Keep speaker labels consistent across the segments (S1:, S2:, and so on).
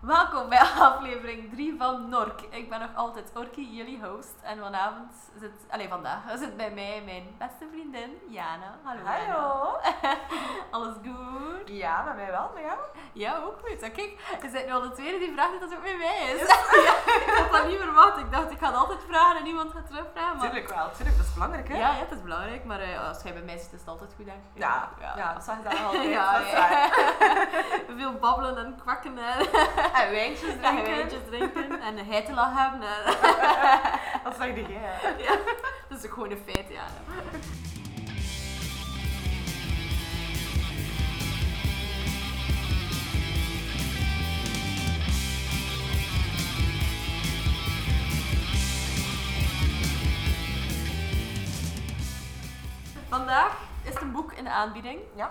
S1: Welkom bij aflevering 3 van Nork. Ik ben nog altijd Orkie, jullie host. En vanavond zit, alleen vandaag, zit bij mij mijn beste vriendin Jana. Hallo. Jana.
S2: Hallo.
S1: Alles goed?
S2: Ja, met mij wel, met jou?
S1: Ja, ook goed. En kijk, je bent nu al de tweede die vraagt dat het ook bij mij is. Ja, ik had dat niet verwacht. Ik dacht, ik ga het altijd vragen en niemand gaat terugvragen. Maar...
S2: Tuurlijk wel, tuurlijk. Dat is belangrijk, hè?
S1: Ja, ja, het is belangrijk, maar eh, als jij bij mij zit, is het altijd goed, denk ik.
S2: Ja, ja, dat zag je dan altijd.
S1: Ja,
S2: dat is waar.
S1: Veel babbelen en kwakken en
S2: En wijntjes
S1: en
S2: drinken.
S1: wijntjes drinken en een heitelach hebben. En...
S2: Dat zag je jij, hè?
S1: Ja, dat is ook gewoon een feit, ja. Vandaag is het een boek in de aanbieding.
S2: Ja.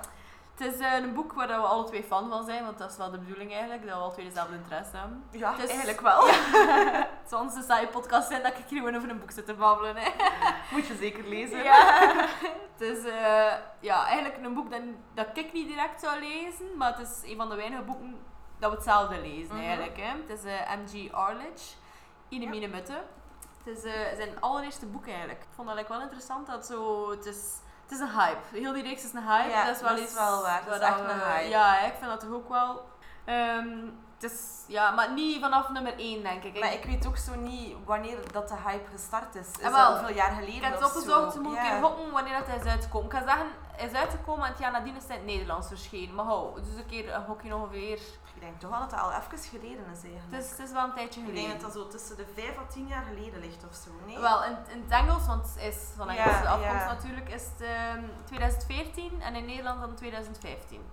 S1: Het is eh, een boek waar dat we alle twee fan van zijn, want dat is wel de bedoeling eigenlijk, dat we alle twee dezelfde interesse hebben.
S2: Ja,
S1: Het is-
S2: eigenlijk wel.
S1: Het zou onze saaie podcast zijn dat ik hier gewoon over een boek zit te babbelen. Hè.
S2: Moet je zeker lezen.
S1: Ja. het is eh, ja, eigenlijk een boek dat, dat ik niet direct zou lezen, maar het is een van de weinige boeken dat we hetzelfde lezen
S2: Mhm.
S1: eigenlijk. Hè. Het is eh, M.G. Arledge, Ine
S2: Ja.
S1: Mine Mutte. Het is eh, zijn allereerste boek eigenlijk. Ik vond dat eigenlijk wel interessant dat zo... Het is, het is een hype. Heel die reeks is een hype.
S2: Ja,
S1: dat is wel
S2: dat is
S1: iets
S2: wel waar. Dat is
S1: waar
S2: echt
S1: we-
S2: een hype.
S1: Ja, hè, ik vind dat toch ook wel... Ehm, het is, ja, maar niet vanaf nummer 1 denk ik.
S2: Maar ik weet ook zo niet wanneer dat de hype gestart is. Is
S1: Ah, wel.
S2: dat hoeveel jaar geleden
S1: Ik heb het
S2: of
S1: opgezocht,
S2: zo?
S1: ze moet
S2: Ja.
S1: een keer gokken wanneer dat hij is uitgekomen. Ik kan zeggen, hij is uitgekomen en het jaar nadien is hij in het Nederlands verschenen. Maar hou, dus een keer een gokje ongeveer.
S2: Ik denk toch wel dat dat al even geleden is, eigenlijk.
S1: Het is, het is wel een tijdje
S2: Ik
S1: geleden.
S2: denk dat dat zo tussen de 5 à 10 jaar geleden ligt of zo, nee?
S1: Wel, in, in het Engels, want het is van
S2: Ja,
S1: Engelse afkomst
S2: ja.
S1: natuurlijk, is het ehm, 2014 en in Nederland dan 2015.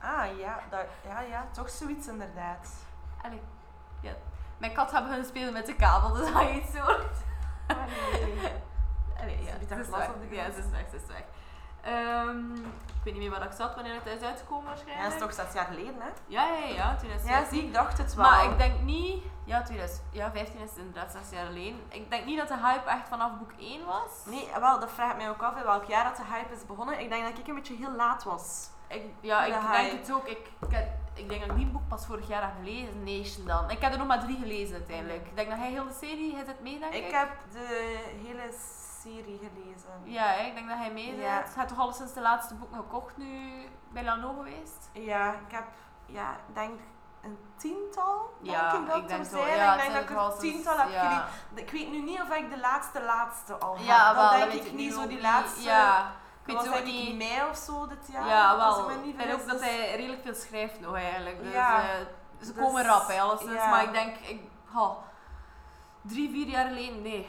S2: Ah, ja, dat, ja, ja, toch zoiets inderdaad.
S1: Allee, ja. Mijn kat gaat beginnen spelen met de kabel, dus dat je iets hoort.
S2: Ah, nee, nee.
S1: Allee, ja,
S2: Ze biedt haar
S1: het is
S2: glas
S1: weg.
S2: op de
S1: Ja,
S2: grond.
S1: het is weg, het is weg. Ehm, ik weet niet meer waar ik zat wanneer het is uitgekomen
S2: Ja, dat
S1: waarschijnlijk.
S2: is toch zes jaar geleden, hè?
S1: ja, ja, ja, 2015.
S2: Ja, zie, ik dacht het wel.
S1: Maar ik denk niet... Ja, 2000, ja, 15 is het inderdaad 6 jaar geleden. Ik denk niet dat de hype echt vanaf boek 1 was.
S2: Nee, wel, dat vraagt mij ook af in welk jaar dat de hype is begonnen. Ik denk dat ik een beetje heel laat was.
S1: Ik, ja, ik
S2: De
S1: denk
S2: hype.
S1: het ook. Ik, ik, heb- ik denk dat ik die boek pas vorig jaar heb gelezen. Nation dan. Ik heb er nog maar drie gelezen uiteindelijk. Ik denk dat hij heel de serie... Hij zit mee, denk ik?
S2: Mm. Ik heb de hele serie gelezen.
S1: Ja, hè, ik denk dat hij mee zit.
S2: Ja.
S1: Hij heeft toch al sinds de laatste boeken gekocht nu bij Lano geweest?
S2: Ja, ik heb, ja, ik denk een tiental, denk ik dat er
S1: wel.
S2: zijn.
S1: Ja,
S2: ik denk
S1: het
S2: dat
S1: zijn
S2: ik
S1: er wel
S2: een
S1: sinds-
S2: tiental heb
S1: ja.
S2: gelezen. Ik weet nu niet of ik de laatste laatste al had.
S1: Ja, wel,
S2: dat denk
S1: weet
S2: ik niet,
S1: nu
S2: zo
S1: ook
S2: die
S1: niet.
S2: laatste.
S1: Ja, ik
S2: Dat
S1: weet
S2: was
S1: het ook
S2: denk ik
S1: niet.
S2: mei of zo dit jaar.
S1: Ja,
S2: als ik
S1: wel.
S2: me niet
S1: en ook
S2: vergis. dus-
S1: dat hij redelijk veel schrijft nog eigenlijk. Dus,
S2: Ja.
S1: eh, ze
S2: Dus,
S1: komen rap, hè, alleszins.
S2: ja.
S1: Maar ik denk, ik, ha, drie, vier jaar geleden, nee,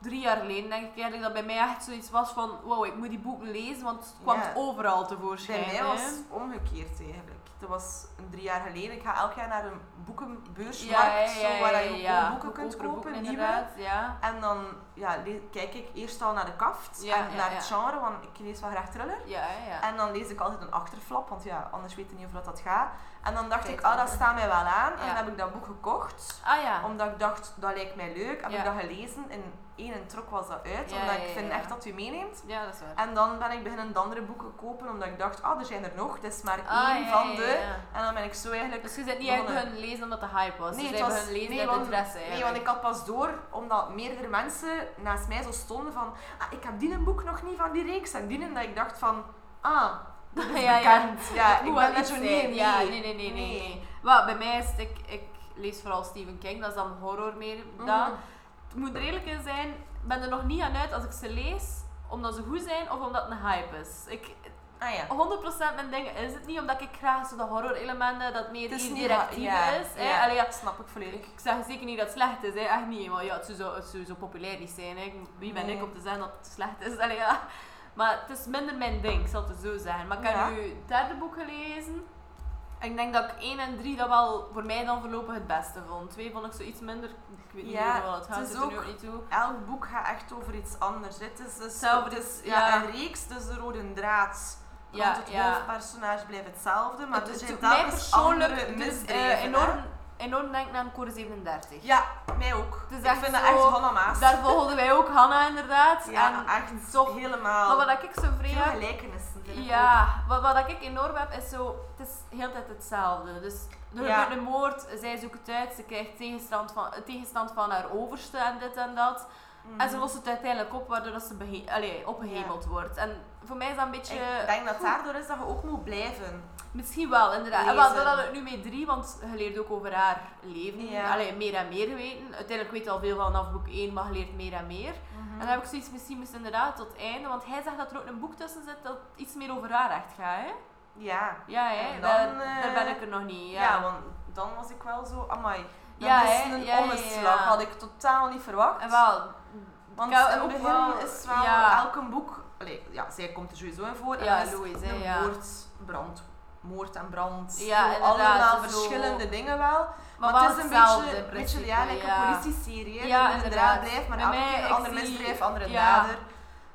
S1: drie jaar geleden denk ik eigenlijk dat bij mij echt zoiets was van, wow, ik moet die boeken lezen, want het kwam
S2: Ja.
S1: overal
S2: Bij
S1: tevoorschijn.
S2: mij
S1: hè.
S2: was het omgekeerd eigenlijk. Dat was een drie jaar geleden. Ik ga elk jaar naar een boekenbeursmarkt,
S1: ja, ja,
S2: dus zo, waar je
S1: ja,
S2: ook
S1: ja.
S2: boeken kunt
S1: Goedkopere
S2: kopen,
S1: boeken,
S2: nieuwe.
S1: inderdaad, ja.
S2: En dan ja, le- kijk ik eerst al naar de kaft
S1: Ja,
S2: en
S1: ja,
S2: naar
S1: ja.
S2: het genre, want ik lees wel graag thriller.
S1: Ja, ja, ja.
S2: En dan lees ik altijd een achterflap, want ja, anders weet ik niet of dat, dat gaat. En dan dacht
S1: Kijk,
S2: ik, ah,
S1: wel.
S2: dat staat mij wel aan. En
S1: Ja.
S2: dan heb ik dat boek gekocht,
S1: ah ja.
S2: omdat ik dacht, dat lijkt mij leuk. Heb
S1: Ja.
S2: ik dat gelezen, in één trok was dat uit,
S1: Ja,
S2: omdat
S1: ja,
S2: ik vind
S1: ja.
S2: echt dat u meeneemt.
S1: ja, dat is waar.
S2: En dan ben ik beginnen de andere boeken kopen, omdat ik dacht, ah, er zijn er nog, het is maar één
S1: Ah, ja,
S2: van
S1: ja,
S2: de...
S1: ja.
S2: En dan ben ik zo eigenlijk...
S1: Dus je bent niet
S2: begonnen.
S1: uit hun lezen omdat de hype was.
S2: Nee,
S1: dus
S2: het
S1: jij
S2: was-
S1: bent lezen
S2: nee,
S1: uit
S2: want-
S1: interesse.
S2: Nee, want ik had pas door, omdat meerdere mensen naast mij zo stonden van... Ah, ik heb die een boek nog niet van die reeks. En die een dat ik dacht van... Ah,
S1: eigenlijk.
S2: ja, bekend. Ja,
S1: Moet wel
S2: ik ben dat
S1: iets
S2: zo
S1: zijn.
S2: niet
S1: Ja, nee, nee, nee, nee. nee. Wel, bij mij is het, ik, ik lees vooral Stephen King, dat is dan horror meer
S2: Mhm.
S1: dan.
S2: Mm.
S1: Het moet er eerlijk in zijn, ik ben er nog niet aan uit als ik ze lees, omdat ze goed zijn of omdat het een hype is. Ik,
S2: Ah ja.
S1: 100% mijn dingen is het niet, omdat ik graag zo de horror elementen, dat meer
S2: Het is niet
S1: directief
S2: ja,
S1: is. hè.
S2: ja.
S1: Allee, ja,
S2: snap ik volledig.
S1: ik zeg zeker niet dat het slecht is, hè. echt niet. Maar ja, het zou, zo- het zou zo populair niet zijn. Hè. Ik- Wie ben
S2: Nee.
S1: ik om te zeggen dat het slecht is? Allee, ja. Maar het is minder mijn ding, ik zal het zo zeggen. Maar ik
S2: Ja.
S1: heb nu het derde boek gelezen. En ik denk dat ik 1 en 3 dat wel voor mij dan voorlopig het beste vond. 2 vond ik zoiets minder. Ik weet niet
S2: Ja,
S1: hoeveel het
S2: het
S1: gaat,
S2: is
S1: zit er nu
S2: ook-
S1: ook niet toe.
S2: Elk boek gaat echt over iets anders. Het is, dus,
S1: Hetzelfde,
S2: het is
S1: ja.
S2: ja, een reeks, dus de rode draad.
S1: Ja,
S2: Want het
S1: ja.
S2: hoofdpersonage blijft hetzelfde, maar
S1: Het-
S2: dus
S1: het
S2: je
S1: doet mij
S2: telkens andere
S1: persoonlijk dus,
S2: misdrijven.
S1: eh,
S2: hè.
S1: enorm, enorm denk ik aan Core 37.
S2: Ja, mij ook.
S1: Het is
S2: ik
S1: echt
S2: vind dat
S1: zo-
S2: echt Hannah Maas.
S1: Daar volgden wij ook Hanna inderdaad.
S2: ja, ah,
S1: en
S2: echt
S1: toch-
S2: helemaal.
S1: maar wat ik zo vreemd
S2: Veel gelijkenissen. vind ik ook.
S1: Ja, wat, wat ik enorm heb is zo, het is heel de tijd hetzelfde. Dus Er
S2: Ja.
S1: gebeurt een moord, zij zoekt het uit, ze krijgt tegenstand van, tegenstand van haar overste en dit en dat. En
S2: Mhm.
S1: ze lost het uiteindelijk op, waardoor dat ze behe- allee, opgehemeld wordt. En voor mij is dat een beetje...
S2: Ik denk dat daardoor is dat je ook moet blijven.
S1: Misschien wel, inderdaad. En wel, dat
S2: Lezen.
S1: had ik nu met drie, want je leert ook over haar leven.
S2: Ja.
S1: Allee, meer en meer weten. Uiteindelijk weet je al veel vanaf boek 1, maar je leert meer en meer. En
S2: Mhm.
S1: dan heb ik zoiets, misschien moest inderdaad tot het einde, want hij zegt dat er ook een boek tussen zit dat iets meer over haar echt gaat, hè?
S2: Ja.
S1: Ja, hè?
S2: En dan,
S1: daar,
S2: eh,
S1: daar ben ik er nog niet.
S2: ja.
S1: Ja,
S2: want dan was ik wel zo, amai. Dat
S1: Ja,
S2: is
S1: hè?
S2: een
S1: Ja, ja,
S2: omslag,
S1: ja.
S2: had ik totaal niet verwacht.
S1: En wel,
S2: Want
S1: Ik
S2: in
S1: hou
S2: het
S1: ook
S2: begin
S1: wel-
S2: is wel
S1: ja.
S2: elk boek... Allee, ja, zij komt er sowieso in voor.
S1: Ja,
S2: en dan is
S1: Louise, hè,
S2: een
S1: ja.
S2: moord, brand, moord en brand.
S1: Ja,
S2: Zo
S1: inderdaad,
S2: Allemaal
S1: zo-
S2: verschillende dingen wel.
S1: maar,
S2: Maar,
S1: wel
S2: het is een
S1: hetzelfde
S2: beetje,
S1: in
S2: een beetje
S1: principe,
S2: ja, like
S1: ja.
S2: een politieserie. hè.
S1: Ja,
S2: Er moet een draad
S1: inderdaad.
S2: drijf, maar
S1: Bij
S2: elke
S1: mij,
S2: keer een
S1: ik
S2: ander
S1: zie-
S2: misdrijf, andere
S1: ja.
S2: dader.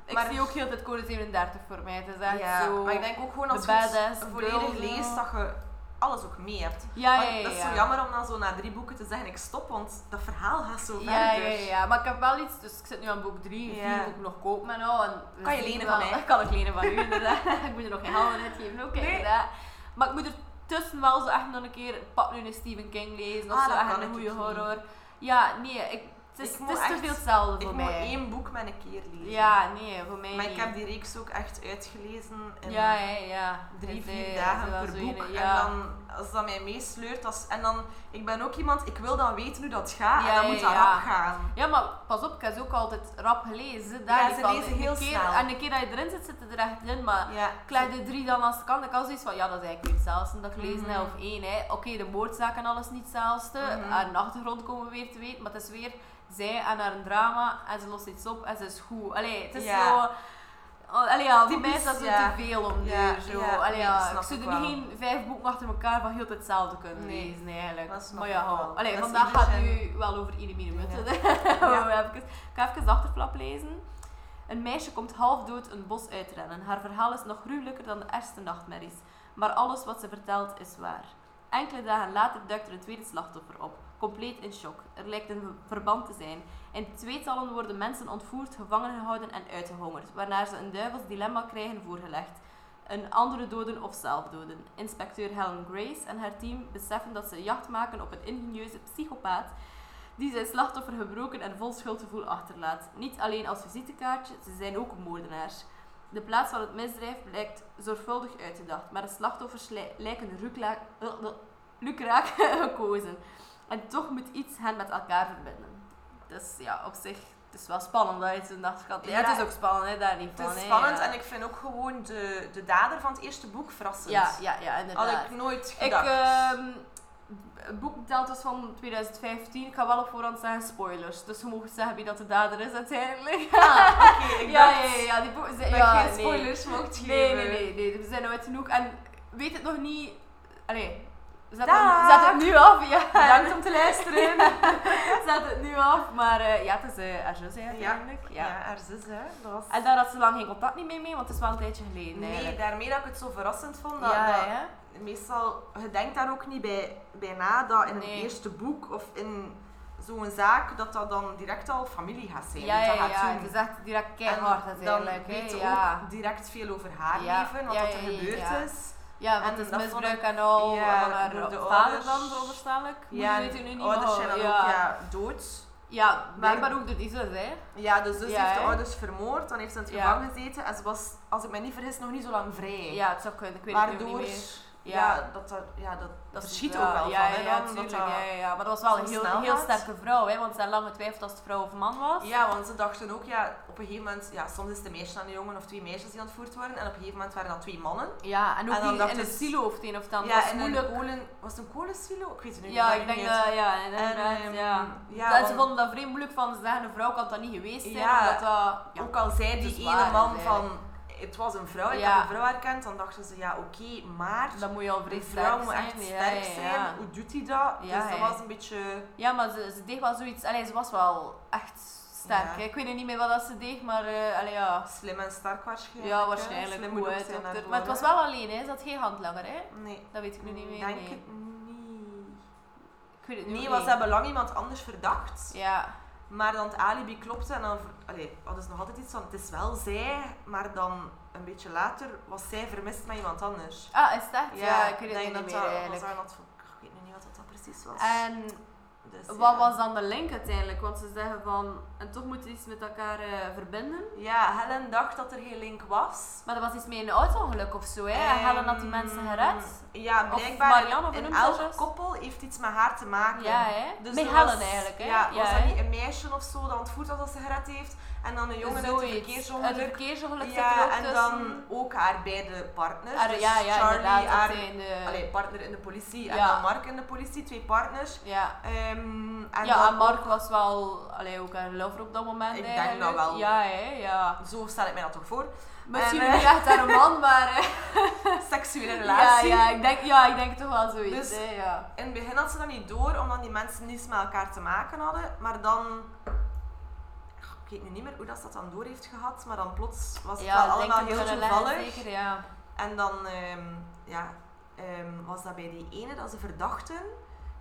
S1: Ik
S2: maar-
S1: zie ook heel het code 37 voor mij. Het is echt
S2: ja,
S1: zo...
S2: maar ik denk ook gewoon als
S1: de
S2: je het
S1: badass
S2: volledig
S1: girl,
S2: leest,
S1: zo.
S2: dat je alles ook mee hebt.
S1: ja, ja,
S2: Want
S1: ja, ja.
S2: dat is zo jammer om dan zo na drie boeken te zeggen, ik stop, want dat verhaal gaat zo
S1: Ja, ja,
S2: verder.
S1: ja, maar ik heb wel iets, dus ik zit nu aan boek 3 en 4
S2: Ja.
S1: moet ik nog kopen en al. En we
S2: Kan je
S1: zien
S2: lenen
S1: wel.
S2: van mij?
S1: Kan ik lenen van u, inderdaad. ik moet er nog geen handen uitgeven, ook
S2: Nee.
S1: inderdaad. Maar ik moet er tussen wel zo echt nog een keer, pak nu een Stephen King lezen of
S2: Ah,
S1: zo,
S2: dat
S1: echt
S2: kan
S1: een
S2: ik
S1: goede
S2: ook niet.
S1: horror. Ja, nee, ik, het is,
S2: Ik
S1: het
S2: moet
S1: is te
S2: echt-
S1: veel hetzelfde
S2: Ik
S1: voor
S2: moet
S1: mij.
S2: één boek met een keer lezen.
S1: Ja, nee, voor mij
S2: maar
S1: niet.
S2: ik heb die reeks ook echt uitgelezen in
S1: ja, ja, ja.
S2: drie,
S1: Het, eh,
S2: vier
S1: is
S2: dagen
S1: wel
S2: per
S1: zo
S2: boek.
S1: ene- ja.
S2: En dan, als dat mij meesleurt, als, en dan, ik ben ook iemand, ik wil dan weten hoe dat gaat,
S1: Ja,
S2: en dan
S1: ja,
S2: moet dat
S1: ja.
S2: rap gaan.
S1: Ja, maar pas op, ik heb ze ook altijd rap gelezen. Daar
S2: Ja,
S1: die
S2: ze
S1: kan-
S2: lezen
S1: een
S2: heel
S1: keer,
S2: snel.
S1: En de keer dat je erin zit, zit je er echt in. Maar
S2: Ja,
S1: ik leg de drie dan als de kant. Ik had zoiets van, ja, dat is eigenlijk niet hetzelfde dat ik lezen heb,
S2: Mhm.
S1: of één. hè. Oké, de moordzaak en alles niet hetzelfde.
S2: Mhm.
S1: Haar achtergrond komen we weer te weten. Maar het is weer zij en haar drama. En ze lost iets op en ze is goed. Allee, het is
S2: Ja.
S1: zo... Allee, ja, voor
S2: Typisch,
S1: mij is dat zo
S2: ja.
S1: te veel om
S2: Ja,
S1: deur. Zo.
S2: ja,
S1: Allee,
S2: nee,
S1: ja,
S2: dat snap
S1: ik zou
S2: ik
S1: er niet
S2: wel.
S1: geen vijf boeken achter elkaar van heel hetzelfde kunnen
S2: Nee,
S1: lezen, eigenlijk.
S2: dat snap
S1: maar ja,
S2: ik wel.
S1: hou. Allee,
S2: Dat is
S1: vandaag
S2: English
S1: gaat het
S2: en-
S1: nu wel over Iedereen
S2: Ja.
S1: Mutten.
S2: Ja.
S1: Ja. ik ga even de achterflap lezen. Een meisje komt half dood een bos uitrennen. Haar verhaal is nog gruwelijker dan de ergste nachtmerries. Maar alles wat ze vertelt is waar. Enkele dagen later duikt er een tweede slachtoffer op. Compleet in shock. Er lijkt een verband te zijn. In tweetallen worden mensen ontvoerd, gevangen gehouden en uitgehongerd. Waarna ze een duivels dilemma krijgen voorgelegd. Een andere doden of zelf doden. Inspecteur Helen Grace en haar team beseffen dat ze jacht maken op een ingenieuze psychopaat die zijn slachtoffer gebroken en vol schuldgevoel achterlaat. Niet alleen als visitekaartje, ze zijn ook moordenaars. De plaats van het misdrijf blijkt zorgvuldig uitgedacht, maar de slachtoffers lij- lijken ruklaak- eh, eh, lukraak gekozen. En toch moet iets hen met elkaar verbinden. Dus ja, op zich, het is wel spannend dat je het zo'n nacht gaat... Ja, het is ook spannend, hè, daar niet van.
S2: Het is
S1: hè,
S2: spannend
S1: Oh, ja.
S2: en ik vind ook gewoon de, de dader van het eerste boek verrassend.
S1: Ja, ja, ja, inderdaad.
S2: Had ik nooit
S1: Ik,
S2: gedacht.
S1: ehm het boek telt dus van 2015. Ik ga wel op voorhand zeggen spoilers. Dus je mag zeggen wie dat de dader is uiteindelijk.
S2: Ah, Oké, ik
S1: ja,
S2: dacht
S1: ja, ja, ja, die boeken zijn...
S2: dat
S1: ja,
S2: ik geen
S1: nee.
S2: spoilers mocht geven.
S1: Nee, nee, nee, nee. We zijn uit genoeg. En weet het nog niet... Allee, zet,
S2: Daag.
S1: hem, zet het nu af. Ja,
S2: Bedankt om te luisteren.
S1: zet het nu af. Maar eh, ja, het is eh haar zus hè, uiteindelijk. Ja.
S2: Ja, haar zus, hè. Dat was...
S1: En daar had ze lang geen contact niet mee, mee want het is wel een tijdje geleden
S2: Nee,
S1: eigenlijk.
S2: daarmee dat ik het zo verrassend vond. Dat,
S1: ja,
S2: dat-
S1: hè?
S2: meestal, je denkt daar ook niet bij, bij na dat in
S1: Nee.
S2: een eerste boek of in zo'n zaak dat dat dan direct al familie gaat zijn.
S1: Ja,
S2: die
S1: ja,
S2: dat
S1: ja.
S2: gaat doen.
S1: Het is echt direct
S2: En
S1: keihard
S2: dan
S1: uiteindelijk. hè,
S2: weet je
S1: ja.
S2: ook direct veel over haar
S1: Ja.
S2: leven, wat
S1: Ja,
S2: dat er
S1: ja, ja,
S2: gebeurd
S1: ja.
S2: is.
S1: Ja, want
S2: En
S1: het is
S2: dat vond
S1: misbruik en al
S2: ja,
S1: van haar
S2: door de
S1: vader
S2: ouders.
S1: dan, veronderstellelijk.
S2: Ja,
S1: Ja, weet het nu niet
S2: ouders
S1: maar-
S2: zijn dan
S1: ja.
S2: ook ja, dood.
S1: Ja, blijkbaar
S2: Maar-
S1: ook door die zus, hè.
S2: Ja, dus zus
S1: Ja,
S2: heeft de
S1: hè?
S2: ouders vermoord, dan heeft ze in het
S1: Ja.
S2: gevangen gezeten en ze was, als ik me niet vergis, nog niet zo lang vrij.
S1: Ja, het zou kunnen, ik weet het nu
S2: Waardoor,
S1: niet
S2: ja,
S1: meer.
S2: dat, dat, ja, dat, dat
S1: is-
S2: verschiet
S1: ja,
S2: ook wel
S1: ja,
S2: van. hè,
S1: Ja,
S2: dan, dat
S1: tuurlijk,
S2: dat-
S1: ja, ja, ja. Maar dat was wel
S2: zo
S1: een heel,
S2: snel
S1: heel
S2: gaat.
S1: sterke vrouw, hè. Want ze had lang getwijfeld als het vrouw of man was.
S2: Ja, want ze dachten ook, ja, op een gegeven moment, ja, soms is het een meisje en een jongen of twee meisjes die ontvoerd worden. En op een gegeven moment waren dat twee mannen.
S1: Ja, en ook
S2: En dan
S1: die
S2: dacht
S1: in
S2: ze-
S1: het silo of het een of het ander.
S2: ja,
S1: dat is
S2: en
S1: moeilijk.
S2: een kolen... Was het een kolensilo? Ik weet het nu
S1: Ja,
S2: niet.
S1: ik denk
S2: niet.
S1: dat, ja, inderdaad,
S2: ehm,
S1: ja.
S2: ja,
S1: Dat- Ze
S2: want-
S1: vonden dat vreemd moeilijk van, ze zeggen, een vrouw kan dat niet geweest zijn,
S2: Ja,
S1: omdat dat... Ja,
S2: Ook al zei die
S1: dus waar
S2: ene
S1: is
S2: man
S1: eigenlijk.
S2: van, het was een vrouw, ik
S1: Ja.
S2: heb een vrouw herkend. Dan dachten ze, ja, oké, maar...
S1: dat moet je al vrij
S2: een
S1: sterk
S2: vrouw
S1: zijn.
S2: moet echt
S1: ja,
S2: sterk
S1: ja,
S2: zijn.
S1: ja.
S2: Hoe doet hij dat?
S1: Ja,
S2: dus dat
S1: hè.
S2: was een beetje...
S1: Ja, maar ze, ze deed wel zoiets. Allee, ze was wel echt sterk.
S2: Ja.
S1: hè. Ik weet niet meer wat dat ze deed, maar eh, allee, ja.
S2: Slim en sterk waarschijnlijk.
S1: Ja,
S2: hè.
S1: waarschijnlijk.
S2: Slim
S1: Goed,
S2: moet ook
S1: hè,
S2: zijn
S1: dokter.
S2: daarvoor,
S1: Maar het was
S2: hè.
S1: wel alleen, hè. ze had geen handlanger. Hè.
S2: Nee.
S1: Dat weet ik nu niet meer.
S2: Denk
S1: nee.
S2: het niet.
S1: Ik weet het nu
S2: Nee,
S1: ook
S2: want ze
S1: niet.
S2: hebben lang iemand anders verdacht.
S1: Ja.
S2: Maar dan het alibi klopte en dan ver- allee, hadden ze nog altijd iets van het is wel zij, maar dan een beetje later was zij vermist met iemand anders.
S1: Ah, is dat? Ja, ik weet het
S2: denk
S1: nu niet
S2: dat
S1: meer
S2: dat- was
S1: eigenlijk.
S2: daar een advo- ik weet nu niet seksistisch was.
S1: En
S2: Dus,
S1: wat
S2: ja.
S1: was dan de link uiteindelijk? Want ze zeggen van, en toch moeten we iets met elkaar eh, verbinden.
S2: Ja, Helen dacht dat er geen link was.
S1: Maar dat was iets met een auto-ongeluk of zo, hè? En Helen had die mensen gered.
S2: Ja,
S1: Of
S2: blijkbaar.
S1: Marianne, of hoe
S2: in
S1: noemt dat
S2: elk
S1: juist?
S2: koppel heeft iets met haar te maken.
S1: Ja, hè?
S2: Dus
S1: met
S2: er
S1: Helen
S2: was-
S1: eigenlijk, hè?
S2: Ja, was
S1: hè?
S2: dat niet een meisje of zo dat ontvoerd was als ze gered heeft? En dan een jongen uit een
S1: Zoiets. Uit een
S2: verkeersongeluk.
S1: verkeersongeluk zit er ook
S2: Ja, en dan
S1: tussen.
S2: ook haar beide partners.
S1: Ah,
S2: dus
S1: ja, ja,
S2: Charlie,
S1: inderdaad. dat
S2: haar
S1: zijn de-
S2: allee, partner in de politie en
S1: Eh, Ja.
S2: dan Mark in de politie, twee partners.
S1: ja.
S2: Ehm, en
S1: ja,
S2: dan
S1: en Mark was wel allee, ook een lover op dat moment.
S2: Ik denk
S1: eigenlijk.
S2: dat wel.
S1: Ja, hè, ja.
S2: Zo stel ik mij dat toch voor.
S1: Misschien
S2: En, eh,
S1: niet echt haar man, maar. eh,
S2: Seksuele
S1: ja,
S2: relatie.
S1: ja, ik denk, ja, ik denk toch wel zoiets.
S2: Dus-
S1: hè, ja.
S2: In het begin had ze dat niet door, omdat die mensen niets met elkaar te maken hadden. Maar dan... Ik weet nu niet meer hoe dat ze dat dan door heeft gehad. Maar dan plots was het
S1: ja,
S2: wel
S1: ik denk
S2: allemaal heel
S1: dat we kunnen leggen,
S2: toevallig.
S1: Zeker, ja.
S2: En dan ehm, ja, ehm, was dat bij die ene dat ze verdachten.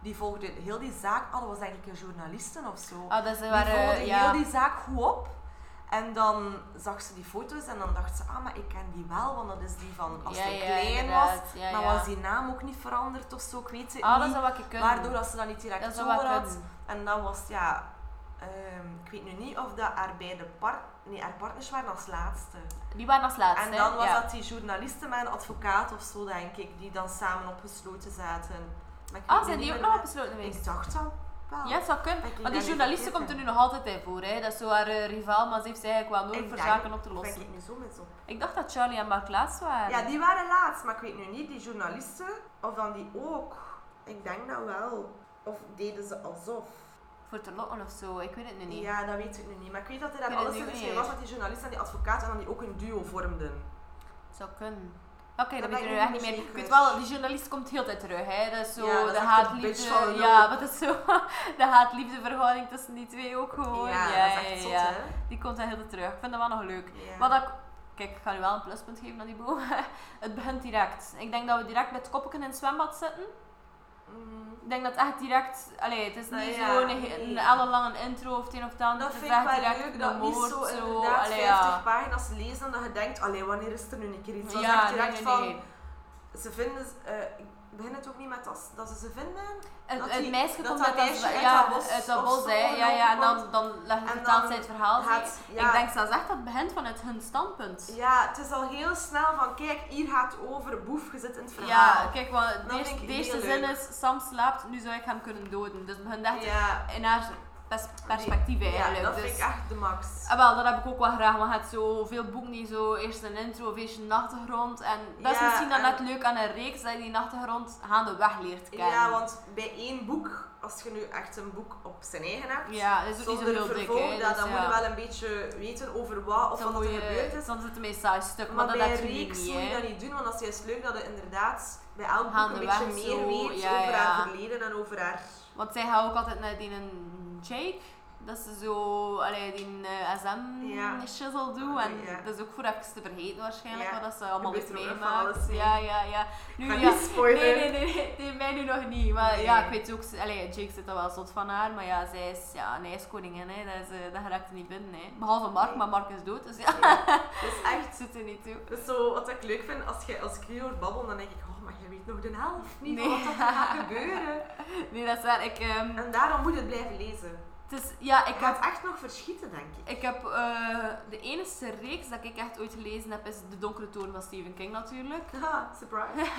S2: Die volgde heel die zaak. Oh, dat was denk ik een journalisten of zo.
S1: Ah, dat ze
S2: die volgde
S1: waren. Ja.
S2: heel die zaak goed op. En dan zag ze die foto's en dan dacht ze, ah, maar ik ken die wel, want dat is die van als
S1: ja,
S2: hij
S1: ja,
S2: klein was.
S1: inderdaad, Ja,
S2: Maar
S1: ja.
S2: was die naam ook niet veranderd of zo, ik weet het
S1: Ah, dat
S2: niet.
S1: zou wat kunnen.
S2: Waardoor dat ze dat niet direct
S1: dat
S2: dat
S1: zou
S2: door
S1: wat
S2: had.
S1: kunnen.
S2: En dan was het, ja, ehm, ik weet nu niet of dat haar beide part nee, haar partners waren als laatste.
S1: Die waren als laatste.
S2: en
S1: hè,
S2: dan was
S1: ja.
S2: dat die journalisten met een advocaat of zo, denk ik, die dan samen opgesloten zaten. Maar ik weet
S1: Ah,
S2: nu
S1: zijn
S2: niet
S1: die ook
S2: meer
S1: nog
S2: waar-
S1: opgesloten geweest?
S2: Ik dacht dat wel.
S1: Ja, het zou kunnen.
S2: Ben ik
S1: Want die
S2: daar
S1: journalisten
S2: niet
S1: komt er nu nog altijd in voor. Hè. Dat is zo haar eh, rivaal, maar ze heeft ze eigenlijk wel
S2: Ik
S1: nodig voor
S2: denk-
S1: zaken op te
S2: Ben
S1: lossen.
S2: ik nu zo met zo.
S1: Ik dacht dat Charlie en Mark laatst waren.
S2: Ja, die waren laatst, maar ik weet nu niet, die journalisten, of dan die ook. Ik denk dat wel. Of deden ze alsof.
S1: Voor te lokken of zo, ik weet het nu niet.
S2: Ja, dat weet ik nu niet. Maar ik weet dat er
S1: Ik
S2: daar
S1: weet
S2: alles
S1: het nu
S2: tussen
S1: niet
S2: was met die journalist en die advocaat en dan die ook een duo vormden.
S1: Het zou kunnen. Oké,
S2: Dat
S1: dat
S2: ben
S1: weet ik
S2: ik
S1: nu
S2: niet
S1: echt niet meer.
S2: zeker.
S1: Ik weet wel, die journalist komt heel tijd terug. Hè. Dat is zo
S2: Ja, dat is
S1: de
S2: echt
S1: haatliefde.
S2: de bitch van de
S1: ja,
S2: loop.
S1: wat is zo? De haatliefde verhouding tussen die twee ook gewoon.
S2: ja, dat is echt zot,
S1: Oh, ja.
S2: hè?
S1: Die komt daar heel tijd terug. Ik vind dat wel nog leuk.
S2: Ja.
S1: Wat ik, kijk, ik ga nu wel een pluspunt geven aan die boom. het begint direct. Ik denk dat we direct met koppen in het zwembad zitten.
S2: Mm,
S1: Ik denk dat echt direct, allee, het is
S2: Nou
S1: niet
S2: ja,
S1: zo'n
S2: nee.
S1: een ellenlange intro of het een of het ander.
S2: dat
S1: het
S2: vind
S1: is
S2: ik
S1: echt
S2: wel
S1: direct
S2: leuk,
S1: een
S2: dat niet
S1: moord,
S2: zo inderdaad
S1: allee,
S2: 50
S1: ja.
S2: pagina's lezen en dat je denkt, allee, wanneer is er nu een keer iets? Dat is
S1: Ja,
S2: echt direct
S1: nee, nee,
S2: van,
S1: nee.
S2: ze vinden, ze- eh, ik begin het ook niet met dat, dat ze ze vinden.
S1: Het,
S2: dat
S1: het
S2: die-
S1: meisje
S2: dat
S1: komt
S2: dat
S1: uit dat,
S2: meisje uit
S1: ja,
S2: dat bos
S1: uit dat
S2: of
S1: bos,
S2: zo
S1: hè. Ja, ja, en dan,
S2: gelopen
S1: dan leg je
S2: En
S1: vertaald
S2: dan
S1: zijn het verhaal.
S2: gaat-
S1: zie.
S2: ja.
S1: Ik denk zelfs echt dat het begint vanuit hun standpunt.
S2: Ja, het is al heel snel van, kijk, hier gaat het over, boef, je zit in het verhaal.
S1: Ja, kijk, want de
S2: vind
S1: eerste,
S2: ik
S1: de eerste
S2: heel
S1: zin
S2: leuk.
S1: is, Sam slaapt, nu zou ik hem kunnen doden. Dus het begint echt
S2: ja,
S1: in haar pers- perspectief eigenlijk.
S2: ja, dat
S1: dus.
S2: vind ik echt de max.
S1: Ah, wel, dat heb ik ook wel graag, want je hebt zo veel boeken die zo eerst een intro of eerst een achtergrond. En dat is
S2: Ja,
S1: misschien dan
S2: en-
S1: net leuk aan een reeks dat je die achtergrond gaandeweg leert kennen.
S2: Ja, want bij één boek, als je nu echt een boek op zijn eigen hebt,
S1: Ja, dat is ook niet zo
S2: zonder
S1: heel dik,
S2: vervolg,
S1: hè.
S2: ja,
S1: dus
S2: dan
S1: ja.
S2: moet je wel een beetje weten over wat of
S1: Dan
S2: wat
S1: moet
S2: er
S1: je-
S2: gebeurd is.
S1: Dan zit het meest saai stuk, maar,
S2: Maar
S1: dat
S2: bij
S1: heb
S2: een
S1: je nu
S2: reeks
S1: niet,
S2: moet je
S1: hè.
S2: dat niet doen, want dat is juist leuk dat je inderdaad bij elk boek een
S1: Gaandeweg
S2: beetje meer
S1: zo,
S2: weet
S1: ja,
S2: over
S1: ja.
S2: haar verleden en over haar...
S1: Want zij gaat ook altijd naar die een Jake. Dat ze zo allee, die eh,
S2: Ja.
S1: SM-shizzle doen. En
S2: Ja.
S1: dat is ook voor even te vergeten waarschijnlijk,
S2: Ja.
S1: wat dat ze allemaal
S2: weet
S1: heeft
S2: er ook nog van
S1: meemaakt.
S2: alles, hè.
S1: Ja, ja, ja. Nu,
S2: Ik ga
S1: ja.
S2: niet spoileren.
S1: Nee, nee, nee, nee, nee, mij nu nog niet. Maar
S2: Nee.
S1: ja, ik weet ook, allee, Jake zit er wel zot van haar, maar ja, zij is ja, een ijskoningin, hè. Dat, is, eh, dat geraakt er niet binnen, hè. Behalve Mark,
S2: Nee.
S1: maar Mark is dood, dus ja,
S2: Ja. Dat is echt...
S1: het zit er niet toe.
S2: Dat is zo, wat ik leuk vind, als, je, als ik je hoor babbelen, dan denk ik, oh, maar je weet nog de helft niet van
S1: Nee.
S2: wat dat er gaat gebeuren.
S1: Nee, dat is waar. Ik, ehm,
S2: En daarom moet je het blijven lezen.
S1: het is, ja, ik
S2: Ik
S1: heb
S2: ga het echt nog verschieten, denk ik.
S1: Ik heb eh, de enige reeks dat ik echt ooit gelezen heb, is De Donkere Toren van Stephen King natuurlijk.
S2: Haha, surprise.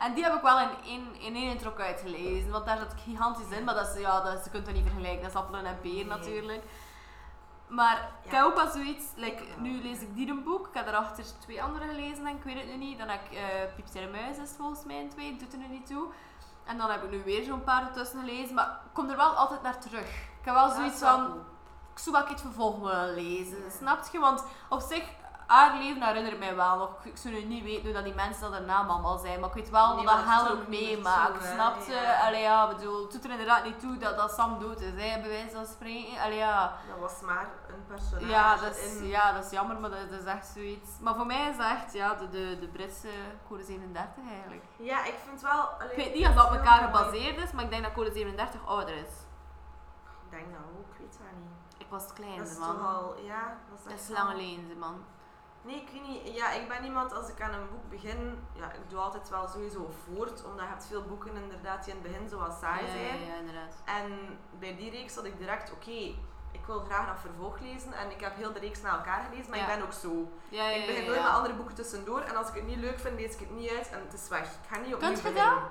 S1: en die heb ik wel in één, in één trok uitgelezen, want daar zat ik gigantisch in. Maar dat is, ja, dat is, je kunt dat niet vergelijken, dat is appelen en peren
S2: Nee.
S1: natuurlijk. Maar ik
S2: Ja.
S1: heb ook wel zoiets, like,
S2: Ik wel,
S1: nu
S2: ja.
S1: lees ik die een boek, ik heb daarachter twee andere gelezen en ik weet het nu niet. Dan heb ik eh Piepster en Muis is het volgens mij in twee, doet er nu niet toe. En dan heb ik nu weer zo'n paar tussen gelezen, maar ik kom er wel altijd naar terug. Ik heb wel zoiets van, ik zou wel een keer het vervolg willen lezen.
S2: Ja.
S1: Snap je? Want op zich, haar leven herinnert mij wel nog. Ik zou nu niet weten hoe dat die mensen dat erna allemaal zijn. Maar ik weet wel
S2: Nee,
S1: dat
S2: maar het is
S1: Helen
S2: ook niet meer
S1: meemaakt.
S2: zo, hè.
S1: Snap je?
S2: Ja.
S1: Allee, ja, ik bedoel, het doet er inderdaad niet toe dat, dat Sam dood is, hè, bij wijze van spreken. Allee, ja.
S2: Dat was maar een personage
S1: Ja dat, is,
S2: in...
S1: ja, dat is jammer, maar dat, dat is echt zoiets. Maar voor mij is dat echt ja, de, de, de Britse code 37 eigenlijk.
S2: Ja, ik vind wel... allee,
S1: Ik weet niet of dat op
S2: heel
S1: elkaar
S2: mooi.
S1: gebaseerd is, maar ik denk dat code 37 ouder is.
S2: Ik denk dat ook, ik weet dat niet.
S1: Ik was het
S2: Dat
S1: kleinste,
S2: is toch
S1: man.
S2: al... Ja, dat is
S1: Dat
S2: echt
S1: is lang
S2: wel-
S1: geleden, man.
S2: Nee, ik weet niet. Ja, ik ben iemand, als ik aan een boek begin, ja, ik doe altijd wel sowieso voort, omdat je hebt veel boeken inderdaad die in het begin zo wat saai
S3: ja,
S2: zijn.
S3: ja, ja, inderdaad.
S2: En bij die reeks had ik direct, oké, ik wil graag dat vervolg lezen. En ik heb heel de reeks na elkaar gelezen, maar
S3: Ja.
S2: ik ben ook zo.
S3: Ja, ja,
S2: Ik begin
S3: ja,
S2: nooit
S3: ja.
S2: met andere boeken tussendoor. En als ik het niet leuk vind, lees ik het niet uit en het is weg. Ik ga niet opnieuw
S3: Kunt je
S2: beginnen.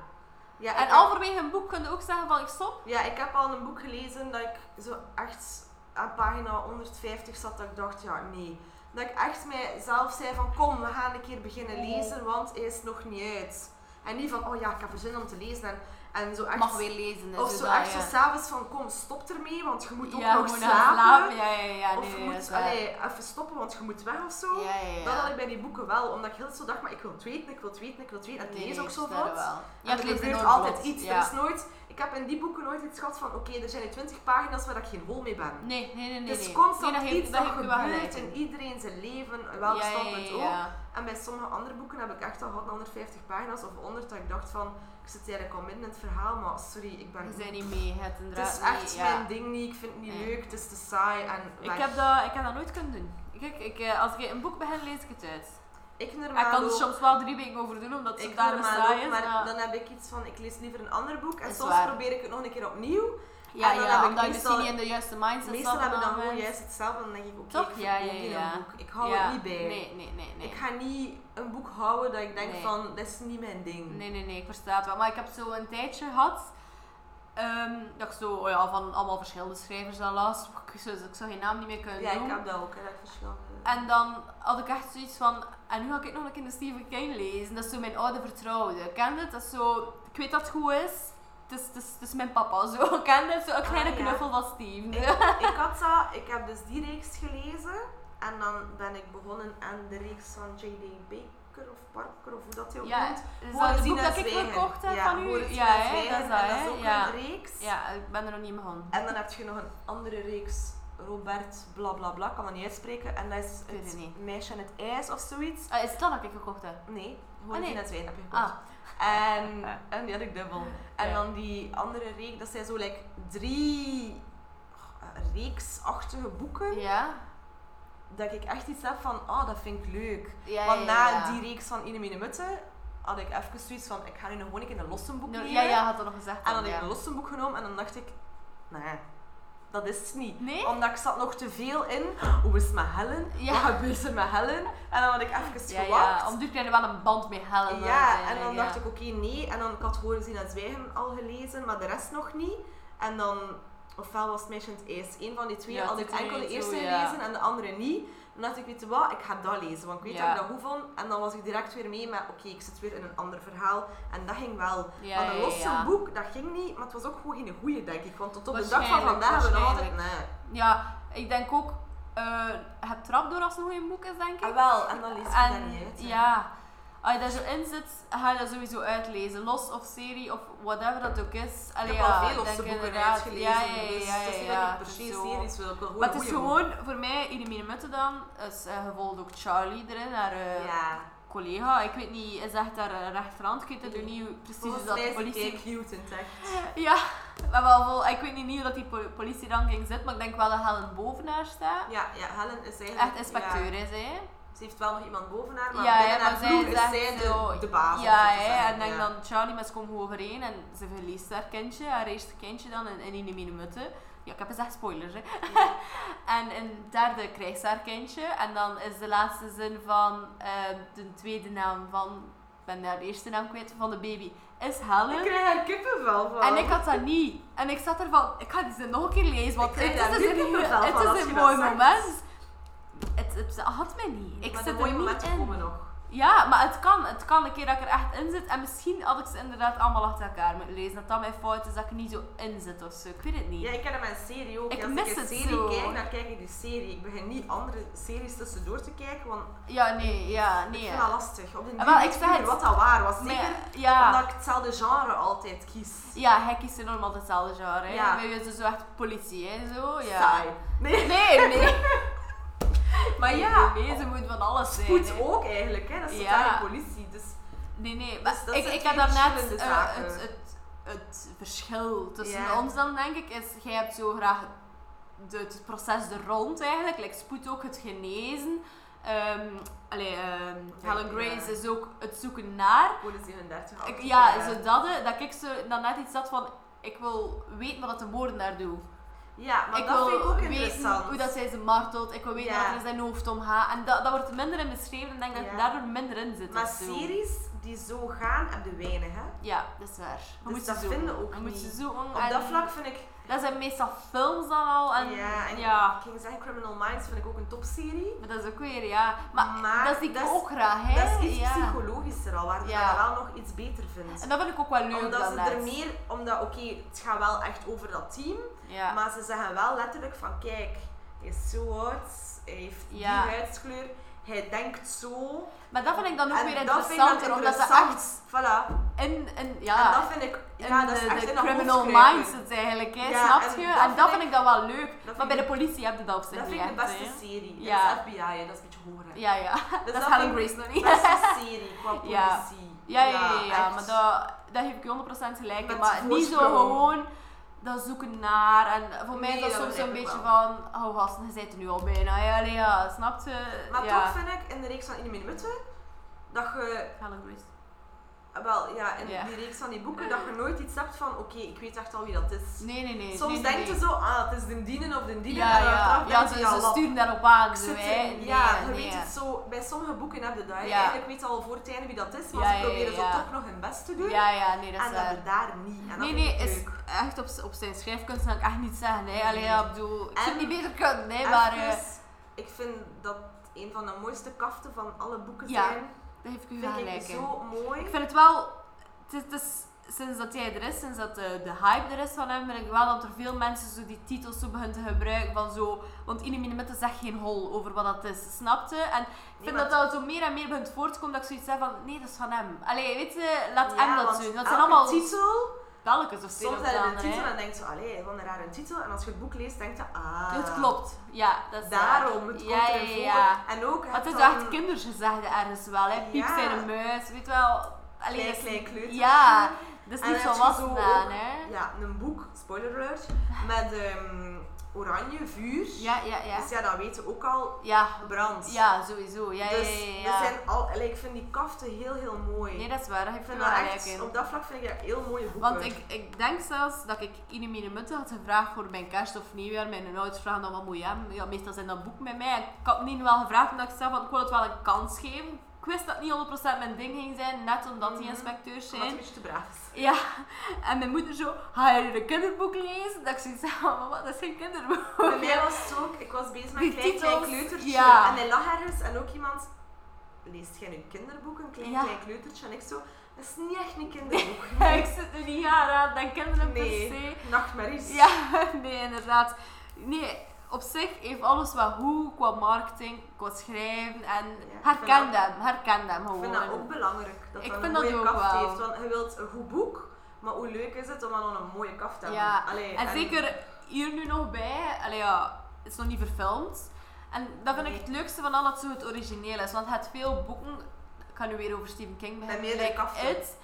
S2: Ja,
S1: En
S2: ik heb-
S1: halverwege een boek kun je ook zeggen van ik stop.
S2: Ja, ik heb al een boek gelezen dat ik zo echt aan pagina 150 zat dat ik dacht, ja nee. Dat ik echt mijzelf zei van kom, we gaan een keer beginnen lezen, want hij is nog niet uit. En niet van, oh ja, ik heb er zin om te lezen. En, en zo echt,
S3: Mag weer lezen.
S2: of
S3: dus
S2: zo
S3: dat,
S2: echt zo
S3: ja.
S2: s'avonds van kom, stop ermee, want je moet ook
S1: ja,
S2: nog
S1: gewoon
S2: slapen.
S1: gaan slapen. Ja, ja, ja.
S2: of
S3: nee,
S2: je
S3: nee, dat is
S2: moet
S3: waar.
S2: allee, even stoppen, want je moet weg of zo.
S3: Ja, ja, ja.
S2: Dat had ik bij die boeken wel, omdat ik heel de zo dacht, maar ik wil het weten, ik wil het weten, ik wil het weten. En het
S3: Nee,
S2: lees
S3: nee,
S2: ook
S3: ik
S2: zo
S3: snap dat
S2: vlot.
S3: wel. Ja,
S2: Ja,
S3: het
S2: er
S3: leest
S2: gebeurt
S3: enorm
S2: altijd
S3: vlot.
S2: iets.
S3: Ja.
S2: Er is nooit, ik heb in die boeken nooit iets gehad van, oké, er zijn er 20 pagina's waar ik geen hol mee ben.
S3: Nee, nee, nee, nee.
S2: Het is
S3: nee.
S2: constant
S3: Nee, dat
S2: iets
S3: geeft-
S2: dat,
S3: dat geeft u wel
S2: gebeurt
S3: gelijk
S2: in iedereen zijn leven,
S3: Ja,
S2: welk
S3: ja,
S2: standpunt
S3: ja, ja.
S2: ook. En bij sommige andere boeken heb ik echt al gehad 150 pagina's of 100 dat ik dacht van, ik zit eigenlijk al midden in het verhaal, maar sorry, ik ben...
S3: We zijn niet mee, het
S2: het
S3: inderdaad
S2: is echt
S3: niet,
S2: mijn ding niet, ik vind het niet
S3: Nee.
S2: leuk, het is te saai en
S1: Ik
S2: weg.
S1: heb, dat, ik heb dat nooit kunnen doen. Kijk, ik, eh, als ik een boek begin, lees ik het uit.
S2: ik
S1: Ik
S2: normaal
S1: kan er
S2: ook-
S1: soms wel drie weken over doen, omdat het
S2: Ik
S1: zodanig
S2: normaal
S1: saai
S2: ook,
S1: is.
S2: maar
S1: maar-
S2: dan heb ik iets van, ik lees liever een ander boek en
S3: Is
S2: soms
S3: waar.
S2: probeer ik het nog een keer opnieuw.
S3: Ja,
S2: En dan
S3: ja,
S2: heb ik
S3: omdat je
S2: meestal-
S3: misschien niet in de juiste mindset
S2: Meestal
S3: zat
S2: heb ik
S3: op
S2: dan
S3: dat
S2: gewoon
S3: moment.
S2: juist hetzelfde. Dan denk ik, oké,
S3: Toch?
S2: ik
S3: Ja,
S2: vind
S3: ja,
S2: geen
S3: ja.
S2: boek. Ik hou
S3: Ja.
S2: het niet bij.
S3: Nee, nee, nee, nee.
S2: Ik ga niet een boek houden dat ik denk
S3: Nee.
S2: van, dat is niet mijn ding.
S3: Nee.
S1: Nee, nee, nee, ik versta het wel. Maar ik heb zo een tijdje gehad ehm, dat ik zo oh ja, van allemaal verschillende schrijvers dan las. Ik zou, ik zou geen naam niet meer kunnen
S2: Ja, ik
S1: noemen.
S2: heb dat ook, hè, dat verschil.
S1: En dan had ik echt zoiets van, en nu ga ik nog een keer de Stephen King lezen. Dat is zo mijn oude vertrouwde. Ken je het? Dat is zo, ik weet dat het goed is. Het is, het is, het is mijn papa, zo. Ken je het? Zo een kleine
S2: Ah, ja.
S1: knuffel van Steven.
S2: ik had dat, ik heb dus die reeks gelezen. En dan ben ik begonnen aan de reeks van J.D. Baker of Parker of hoe dat hij ook
S1: Ja,
S2: noemt.
S1: is
S2: Horen
S1: dat het
S2: zien
S1: boek
S2: en
S1: dat ik
S2: zwijgen.
S1: verkocht heb
S2: ja,
S1: van
S2: Horen
S1: u?
S2: zien
S1: Ja,
S2: en
S1: hè,
S2: zwijgen,
S1: dat is dat,
S2: en dat
S1: hè.
S2: is ook
S1: ja.
S2: een reeks.
S1: ja, ik ben er nog niet mee begonnen.
S2: En dan heb je nog een andere reeks, Robert bla bla bla, ik kan dat niet uitspreken. En dat is
S1: Ik weet
S2: het
S1: het niet.
S2: meisje in het ijs of zoiets.
S1: Ah, is het dat dat ik gekocht heb?
S2: Nee,
S1: Ah,
S2: gewoon
S1: nee.
S2: die net wijn heb je gekocht.
S1: Ah,
S2: En, en die had ik dubbel. En
S1: Ja.
S2: dan die andere reeks, dat zijn zo like drie eh, reeksachtige boeken.
S1: ja.
S2: Dat ik echt iets heb van, ah, dat vind ik leuk.
S3: Ja,
S2: Want
S3: ja, ja,
S2: na
S3: ja.
S2: die reeks van Ine Mine Mutte had ik even zoiets van, ik ga nu nog gewoon een keer een losse boek
S3: Nou,
S2: nemen.
S3: Ja, ja, had dat nog gezegd.
S2: En dan had
S3: ja.
S2: ik een losse boek genomen en dan dacht ik, nee, dat is het niet.
S1: Nee?
S2: Omdat ik zat nog te veel in. Hoe is het met Helen?
S3: Ja.
S2: Wat gebeurt er met Hellen? En dan had ik even
S1: Ja,
S2: gewacht.
S1: ja, om duur krijg je wel een band mee hellen.
S2: Ja, en dan dacht ik, oké, nee. En dan, ik had Horen zien en zwijgen al gelezen, maar de rest nog niet. En dan, ofwel was het Meisje in het ijs. Eén van die twee
S1: Ja,
S2: had
S1: het
S2: ik
S1: is
S2: enkel de
S1: niet
S2: eerste
S1: zo, ja.
S2: gelezen en de andere niet. Dan dacht ik, weet je wat, ik ga dat lezen, want ik weet
S1: Ja.
S2: dat ik dat goed vond. En dan was ik direct weer mee met, oké, ik zit weer in een ander verhaal. En dat ging wel.
S1: Ja,
S2: maar een
S1: ja,
S2: losse
S1: ja.
S2: boek, dat ging niet. Maar het was ook gewoon geen goeie, denk ik. Want tot op de dag van vandaag hebben we nog altijd... Nee.
S1: Ja, ik denk ook, eh het trap door als het een goed boek is, denk ik.
S2: Ah, wel, en dan lees ik dat niet uit. hè.
S1: Ja. Als je daar zo in zit, ga je dat sowieso uitlezen. Los of serie of whatever dat ook is.
S2: Ik
S1: Allee,
S2: heb
S1: ja,
S2: al veel
S1: denk
S2: losse boeken
S1: inderdaad.
S2: uitgelezen,
S1: Ja, ja, ja.
S2: dus
S1: ja,
S2: het is niet
S1: ja,
S2: dat
S1: het
S2: ik per
S1: is
S2: se
S1: zo.
S2: series wil. Ik wil gewoon
S1: Maar het is
S2: goeie boeken.
S1: gewoon, voor mij, Irene Mutte dan, is eh, je volgt ook Charlie erin, haar eh,
S2: Ja.
S1: collega. Ik weet niet, is echt haar eh, rechterhand? Ik weet het nu niet precies hoe
S2: Volgens
S1: dat
S2: mij
S1: de
S2: Dus is die
S1: politie
S2: kei cute in het echt.
S1: Ja, maar wel vol. Ik weet niet hoe dat die po- politieranking zit, maar ik denk wel dat Helen boven haar staat.
S2: Ja, ja, Helen is eigenlijk...
S1: Echt inspecteur is, hè?
S2: ja, ze heeft wel nog iemand boven haar, maar
S1: Ja,
S2: binnen
S1: hè,
S2: haar
S1: maar zij
S2: ploeg
S1: is
S2: is
S1: echt
S2: zij
S1: zo-
S2: de, de baas. om
S1: Ja,
S2: zo te
S1: hè?
S2: zeggen,
S1: En denk
S2: ja.
S1: dan, Charlie, mensen komen goed overeen en ze verliest haar kindje, haar eerste kindje dan in, in Ine Mine Mutte. Ja, ik heb eens echt spoilers, hè? en in het derde krijgt ze haar kindje en dan is de laatste zin van eh, de tweede naam van, ik ben haar eerste naam kwijt, van de baby, is Helen.
S2: Ik krijg er kippenvel van.
S1: En ik had dat niet. En ik zat ervan, ik ga die zin nog een keer lezen, want
S2: Ik
S1: het
S2: krijg daar
S1: is,
S2: nu
S1: een,
S2: kippenvel
S1: het
S2: van als
S1: is
S2: je
S1: een
S2: dat
S1: mooi
S2: zegt.
S1: moment. Het, het had mij niet. Ik
S2: maar
S1: zit
S2: de mooie
S1: er niet
S2: momenten
S1: in.
S2: komen nog.
S1: Ja, maar het kan. Het kan een keer dat ik er echt in zit. En misschien had ik ze inderdaad allemaal achter elkaar moeten lezen. Dat dat mijn fout is, dat ik er niet zo in zit of zo. Ik weet het niet.
S2: Ja, ik ken mijn serie ook.
S1: Ik
S2: Als
S1: mis
S2: ik een
S1: het
S2: serie
S1: zo.
S2: kijk, dan kijk ik die serie. Ik begin niet andere series tussendoor te kijken, want
S1: Ja, nee, ja,
S2: ik
S1: nee.
S2: vind dat lastig. Op de
S1: Ah,
S2: duur
S1: wel,
S2: weet
S1: ik
S2: ik
S1: zeg
S2: niet
S1: het.
S2: meer wat dat waar was.
S1: Maar
S2: Zeker
S1: ja,
S2: omdat ik hetzelfde genre altijd kies.
S1: ja, hij kiest enorm altijd hetzelfde genre. hè.
S2: Ja.
S1: Bij ons is het zo echt politie, hè, zo. Oh, Ja.
S2: Saai. Nee,
S1: Nee, nee. oh.
S2: maar ja,
S1: Nee, ze moet van alles zijn.
S2: spoed
S1: hè.
S2: ook eigenlijk. Hè. Dat is
S1: Ja.
S2: totale politie. Dus
S1: Nee, nee.
S2: Dus
S1: Maar
S2: dat
S1: ik,
S2: zijn
S1: ik
S2: twee
S1: heb daarnet
S2: verschillende
S1: eh,
S2: zaken.
S1: het, het, het verschil tussen
S2: Ja.
S1: ons dan, denk ik, is... Jij hebt zo graag de, het proces er rond, eigenlijk. Like, spoed ook het genezen. Ehm allee, ehm,
S2: Ja,
S1: Helen
S2: ja.
S1: Grace is ook het zoeken naar.
S2: Code 37.
S1: Ik, ja, zo dat, eh, dat ik zo, dan net iets had van, ik wil weten wat dat de moordenaar doet.
S2: Ja, maar
S1: ik
S2: Ah, dat
S1: wil
S2: vind ik ook
S1: weten
S2: interessant.
S1: hoe dat zij ze martelt. Ik wil weten
S2: Ja.
S1: wat er in zijn hoofd omgaat. En dat, dat wordt minder in beschreven en ik denk dat
S2: Ja.
S1: het daardoor minder in zit.
S2: Maar
S1: of zo.
S2: series die zo gaan, heb je weinig, hè?
S1: Ja,
S3: Dat is waar.
S1: je
S2: Dus
S1: moet
S2: dat
S1: ze zoeken.
S2: vinden ook
S1: Je moet
S2: niet.
S1: ze zoeken.
S2: Op dat vlak vind ik...
S1: Dat zijn meestal films dan al. Oh, En,
S2: ja, en
S1: ja.
S2: ik ging zeggen, Criminal Minds vind ik ook een topserie.
S1: Maar dat is ook weer, ja. Maar,
S2: Maar
S1: dat zie ik
S2: dat is-
S1: ook graag, hè.
S2: Dat is iets
S1: ja.
S2: psychologischer al, waar je
S1: Ja.
S2: dat wel nog iets beter vindt.
S1: En dat vind ik ook wel leuk
S2: omdat
S1: dan
S2: ze
S1: net.
S2: er meer... Omdat, oké, het gaat wel echt over dat team.
S1: Ja.
S2: Maar ze zeggen wel letterlijk van, kijk, hij is zo oud, hij heeft
S1: Ja.
S2: die huidskleur, hij denkt zo.
S1: Maar dat vind ik dan ook
S2: En
S1: weer
S2: dat vind ik
S1: interessanter,
S2: dan
S1: omdat ze
S2: interessant.
S1: echt
S2: Voilà.
S1: in, in,
S2: En
S1: ja,
S2: dat vind ik... Ja,
S1: in
S2: dat is
S1: de,
S2: echt
S1: de
S2: in
S1: criminal
S2: hoofdkruipen.
S1: mindset eigenlijk, hè,
S2: Ja,
S1: snap
S2: en
S1: je?
S2: dat
S1: en
S2: vind
S1: dat vind ik dan wel leuk.
S2: Dat
S1: Maar
S2: vind
S1: bij de
S2: ik-
S1: politie heb je dat op zich
S2: Dat
S1: niet
S2: vind ik de
S1: echt,
S2: beste
S1: hè.
S2: serie.
S1: Ja.
S2: Dat is FBI, hè, dat is een beetje hoger. hè.
S1: Ja, ja.
S2: Dus
S1: dat is Helen
S2: vind ik
S1: Grace nog niet.
S2: de beste serie qua politie.
S1: Ja. Ja, ja, ja, ja, ja,
S2: echt.
S1: maar dat, dat geef ik je 100% gelijk. in,
S2: Met
S1: maar niet zo
S2: voorsprong.
S1: gewoon dat zoeken naar. En voor mij
S2: Nee,
S1: is dat
S2: dat
S1: soms
S2: begrijp
S1: een
S2: ik
S1: beetje
S2: wel.
S1: van, oh gasten, je bent er nu al bijna. Ja, allee, ja, snap je?
S2: Maar
S1: ja.
S2: toch vind ik in de reeks van 1 minuten dat je
S1: Helen Grace.
S2: eh, wel ja in
S1: Ja.
S2: die reeks van die boeken dat je nooit iets hebt van oké ik weet echt al wie dat is.
S1: Nee, nee, nee.
S2: Soms
S1: nee, nee,
S2: denk je
S1: nee.
S2: zo ah het is de dienen of de dienen
S1: Ja,
S2: en dan
S1: ja.
S2: achteraf
S1: ja,
S2: denk
S1: ze,
S2: je ja,
S1: ze
S2: lap,
S1: sturen daarop aan.
S2: ik
S1: Zo,
S2: zit
S1: hè.
S2: er-
S1: Nee,
S2: ja je
S1: nee.
S2: weet het zo bij sommige boeken heb je dat. hè.
S1: Ja.
S2: Eigenlijk weet je al voor het einde wie dat is, maar
S1: Ja,
S2: ze
S1: ja,
S2: proberen
S1: ja.
S2: zo toch nog hun best te doen.
S1: Ja, ja, nee, dat is
S2: en dat
S1: waar.
S2: we daar niet. En dat
S1: Nee,
S2: vind
S1: nee,
S2: ik
S1: is
S2: leuk.
S1: echt op, z- op zijn schrijfkunst kan ik echt niet zeggen. Hè. Allee,
S2: Nee.
S1: ja, ik bedoel, ik zou het
S2: En-
S1: niet beter kunnen, hè, maar eh,
S2: Even, ik vind dat een van de mooiste kaften van alle boeken
S1: Ja,
S2: zijn.
S1: daar heb ik u
S2: Vind ik
S1: gelijk in.
S2: zo mooi.
S1: Ik vind het wel, het is, het is- sinds dat jij er is, sinds dat de, de hype er is van hem, vind ik wel dat er veel mensen zo die titels zo beginnen te gebruiken van zo, want in minuten zegt geen hol over wat dat is, snapte? En ik vind
S2: maar-
S1: dat dat zo meer en meer begint voor te komen dat ik zoiets zeg van, nee, dat is van hem. Allee, weet je, laat
S2: Ja,
S1: hem dat
S2: want
S1: doen. Dat
S2: elke
S1: zijn allemaal
S2: titel.
S1: spelletjes of zo.
S2: Soms heb je een titel en denk je, allee, wat een rare titel. En als je het boek leest, denk je, ah.
S1: Het klopt, ja, dat is
S2: Daarom,
S1: waar.
S2: het
S1: ja,
S2: komt
S1: ja,
S2: ervoor.
S1: ja.
S2: En ook,
S1: Maar het is
S2: dan
S1: wel echt kindersgezegde ergens wel, hè. Piep
S2: Ja.
S1: zijn een muis, weet wel. Allee,
S2: klein,
S1: dat is-
S2: klein kleuter.
S1: Ja, dat is
S2: En
S1: niet
S2: dan heb
S1: zo
S2: je
S1: was
S2: zo
S1: aan,
S2: ook-
S1: hè.
S2: Ja, een boek, spoiler alert, met ehm, oranje vuur.
S1: Ja, ja, ja.
S2: Dus ja, dat weten we ook al,
S1: Ja,
S2: brand.
S1: ja sowieso. Ja,
S2: dus
S1: ja, ja,
S2: dat
S1: ja.
S2: zijn al, allee, ik vind die kaften heel, heel mooi.
S1: Nee, dat is waar. daar heb
S2: ik
S1: je
S2: vind
S1: wel
S2: dat
S1: gelijk
S2: echt,
S1: in.
S2: op dat vlak vind ik dat heel mooie boeken.
S1: Want ik, ik denk zelfs dat ik in een minuut had gevraagd voor mijn kerst of nieuwjaar. Mijn ouders vragen dan wat moet je hebben. Ja, meestal zijn dat boek met mij. En Ik had niet wel gevraagd omdat ik zei van ik wil het wel een kans geven. Ik wist dat het niet 100% mijn ding ging zijn, net omdat die
S2: Mhm.
S1: inspecteurs
S2: Omdat het
S1: zijn.
S2: een beetje te braaf is.
S1: Ja, en mijn moeder zo, ga je een kinderboek lezen? Dat ik zoiets zei, "Mama, wat, dat is geen kinderboek.
S2: Bij mij was het ook, ik was bezig met
S1: Die
S2: een klein, klein
S1: titels,
S2: kleutertje.
S1: ja.
S2: En hij lag ergens en ook iemand, leest jij nu kinderboeken? Een klein,
S1: Ja.
S2: klein kleutertje. En ik zo, dat is niet echt een kinderboek.
S1: ik zit er niet aan, aan dat kinderen
S2: Nee.
S1: per se.
S2: Nachtmerries.
S1: Ja, nee, inderdaad. Nee, op zich heeft alles wat hoe qua marketing, qua schrijven en
S2: ik
S1: herken
S2: vind dat-
S1: hem, herken hem
S2: Ik
S1: gewoon.
S2: vind dat ook belangrijk, dat
S1: Ik
S2: dat een
S1: vind dat
S2: mooie
S1: ook
S2: kaft
S1: wel.
S2: heeft. Want je wilt een goed boek, maar hoe leuk is het om dan een mooie kaft te hebben?
S1: Ja,
S2: Allee,
S1: en zeker hier nu nog bij, allee ja, het is nog niet verfilmd. En dat vind ik
S2: Nee.
S1: het leukste van al dat zo het origineel is, want het veel boeken, ik ga nu weer over Stephen King beginnen,
S2: meerdere
S1: like
S2: kaften.
S1: It,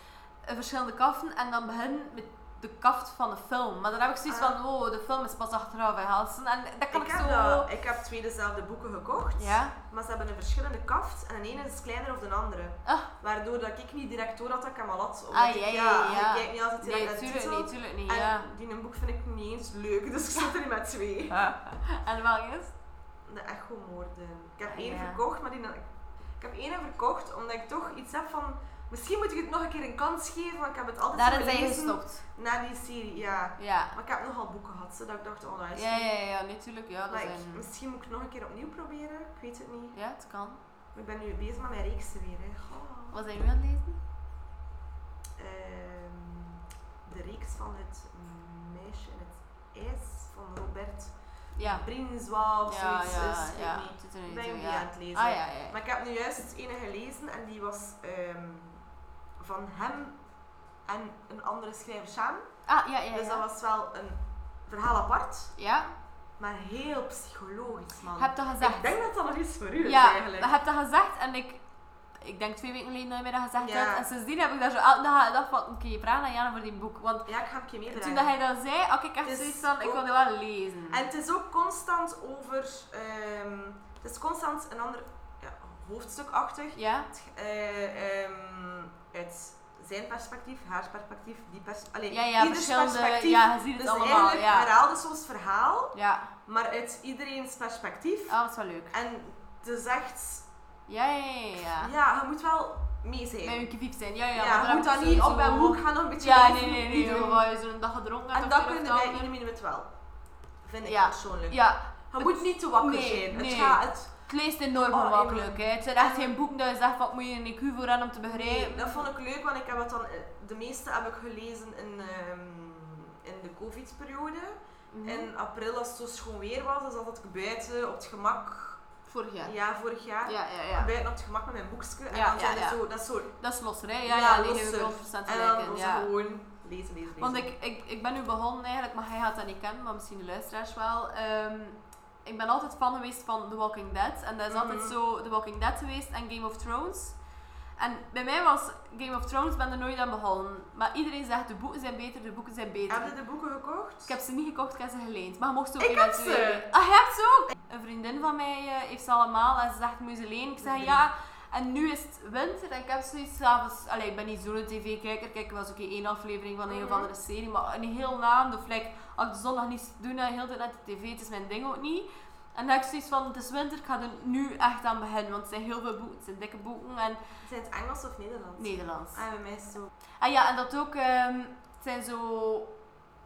S1: eh, verschillende kaften en dan begin met de kaft van de film. Maar dan heb ik zoiets
S2: Ah.
S1: van, oh, de film is pas achteraf bij Halsen en dat kan
S2: Ik
S1: ik,
S2: heb,
S1: zo...
S2: dat- ik heb twee dezelfde boeken gekocht,
S1: Ja?
S2: maar ze hebben een verschillende kaft en de ene is kleiner of de andere.
S1: Ah.
S2: Waardoor dat ik niet direct door had dat ik hem al had. omdat
S1: Ah,
S2: ik-
S1: ja, ja, ja.
S2: Je kijkt niet altijd direct
S1: Nee,
S2: naar de
S1: tuurlijk
S2: titel.
S1: niet, tuurlijk niet,
S2: En
S1: ja.
S2: die een boek vind ik niet eens leuk, dus ik zit er met twee.
S1: En welk is?
S2: De echo-moorden. Ik heb
S1: Ah,
S2: één
S1: ja.
S2: verkocht, maar die... Ik heb één verkocht omdat ik toch iets heb van... Misschien moet ik het nog een keer een kans geven, want ik heb het altijd
S1: Daarin
S2: zo
S1: zijn je
S2: gelezen
S1: gestopt.
S2: na die serie, ja.
S1: Ja.
S2: Maar ik heb nogal boeken gehad, zodat ik dacht, oh, dat is
S1: Ja,
S2: niet.
S1: ja, ja, natuurlijk. Ja, dat
S2: Maar ik-
S1: zijn...
S2: misschien moet ik het nog een keer opnieuw proberen, ik weet het niet.
S1: Ja, het kan.
S2: Ik ben nu bezig met mijn reeksen weer, hè. Goh.
S1: Wat zijn we aan het lezen?
S2: Ehm, de reeks van het meisje in het ijs van Robert
S1: Ja.
S2: Brinswa of
S1: Ja,
S2: zoiets
S1: ja,
S2: is, ik weet
S1: ja.
S2: niet.
S1: Het is er
S2: Ik
S1: niet
S2: ben
S1: zo,
S2: hem
S1: ja.
S2: niet aan het lezen.
S1: Ah, ja, ja, ja.
S2: Maar ik heb nu juist het ene gelezen en die was ehm, van hem en een andere schrijver samen.
S1: Ah, ja, ja,
S2: Dus dat
S1: ja.
S2: was wel een verhaal apart,
S1: Ja,
S2: maar heel psychologisch, man.
S1: heb dat gezegd.
S2: Ik denk dat dat nog iets voor u is
S1: ja,
S2: eigenlijk.
S1: heb dat gezegd en ik... Ik denk twee weken geleden dat je mij dat gezegd
S2: Ja.
S1: hebt. En sindsdien heb ik daar zo elke dag gedacht van... Oké, vraag aan Jana voor die boek. Want
S2: Ja, ik ga hem een keer
S1: toen
S2: meedragen.
S1: dat hij dat zei, had ik
S2: Het
S1: echt
S2: is
S1: zoiets van... Ik
S2: ook-
S1: wil dat wel lezen.
S2: En het is ook constant over... ehm, het is constant een ander... Ja, hoofdstukachtig.
S1: Ja?
S2: eh, ehm, uit zijn perspectief, haar perspectief, die perspectief. Alleen
S1: Ja, ja,
S2: ieders
S1: verschillende...
S2: perspectief.
S1: Ja, je ziet het
S2: dus
S1: allemaal.
S2: eigenlijk
S1: Ja.
S2: herhaalde soms verhaal,
S1: ja.
S2: maar uit iedereen's perspectief.
S1: Ah, dat is wel leuk.
S2: En het is echt,
S1: Ja, ja, ja, ja.
S2: ja, je moet wel mee zijn.
S1: Met je kivief zijn. Ja, ja.
S2: ja,
S1: maar
S2: je moet
S1: heb
S2: dat
S1: ik
S2: niet op
S1: sowieso-
S2: mijn boek gaan nog een beetje
S1: Ja, nee,
S2: lezen.
S1: nee, nee.
S2: Niet doen.
S1: Of als je zo'n dag gedronken hebt
S2: En
S1: of
S2: dat
S1: dit of
S2: kunnen wij
S1: ander.
S2: in de minuut wel. Vind ik
S1: Ja.
S2: persoonlijk.
S1: Ja,
S2: Je moet niet te wakker
S1: Nee,
S2: zijn.
S1: nee.
S2: Het gaat, het,
S1: Het leest enorm
S2: Oh,
S1: gemakkelijk.
S2: Emily.
S1: hè. Het zijn echt geen boeken dat je zegt, wat moet je een IQ voor hebben om te begrijpen.
S2: nee, dat vond ik leuk, want ik heb het dan, eh, de meeste heb ik gelezen in, ehm, in de covid-periode.
S1: Mhm.
S2: In april, als het zo schoon weer was, dan zat ik buiten op het gemak.
S3: Vorig jaar.
S2: Ja, vorig jaar.
S1: Ja, ja, ja.
S2: Buiten op het gemak met mijn boekje. En
S1: Ja,
S2: dan zijn
S1: ja,
S2: er
S1: ja.
S2: zo, dat is zo.
S1: Dat is losser, hè? Ja,
S2: Ja,
S1: ja, nee,
S2: losser.
S1: geef ik 100%
S2: En
S1: gelijk
S2: dan
S1: in.
S2: was
S1: Ja.
S2: het gewoon lezen, lezen, lezen.
S1: Want ik, ik, ik ben nu begonnen eigenlijk, maar hij gaat dat niet kennen, maar misschien de luisteraars wel. Ehm, ik ben altijd fan geweest van The Walking Dead. En dat is altijd
S2: Mhm.
S1: zo The Walking Dead geweest en Game of Thrones. En bij mij was Game of Thrones, ben er nooit aan begonnen. Maar iedereen zegt, de boeken zijn beter, de boeken zijn beter.
S2: Heb je de boeken gekocht?
S1: Ik heb ze niet gekocht, ik heb ze geleend. Maar je mocht ze ook
S2: Ik heb
S1: eventueel-
S2: ze.
S1: Ah, je hebt ze ook? Een vriendin van mij eh, heeft ze allemaal en ze zegt, moet je ze lenen? Ik zeg,
S2: Nee.
S1: ja. En nu is het winter en ik heb zoiets s'avonds... Allee, ik ben niet zo'n tv-kijker. Kijk, er was ook één aflevering van een of
S2: Mhm.
S1: andere serie. Maar een heel naam, of like, als ik de zondag niets doe, dan heel de tijd naar de tv. Het is mijn ding ook niet. En dan heb ik zoiets van, het is winter, ik ga er nu echt aan beginnen. Want het zijn heel veel boeken, het zijn dikke boeken en
S2: Zijn het Engels of Nederlands?
S1: Nederlands.
S2: Ah, bij mij is het zo.
S1: En ja, en dat ook... ehm, het zijn zo...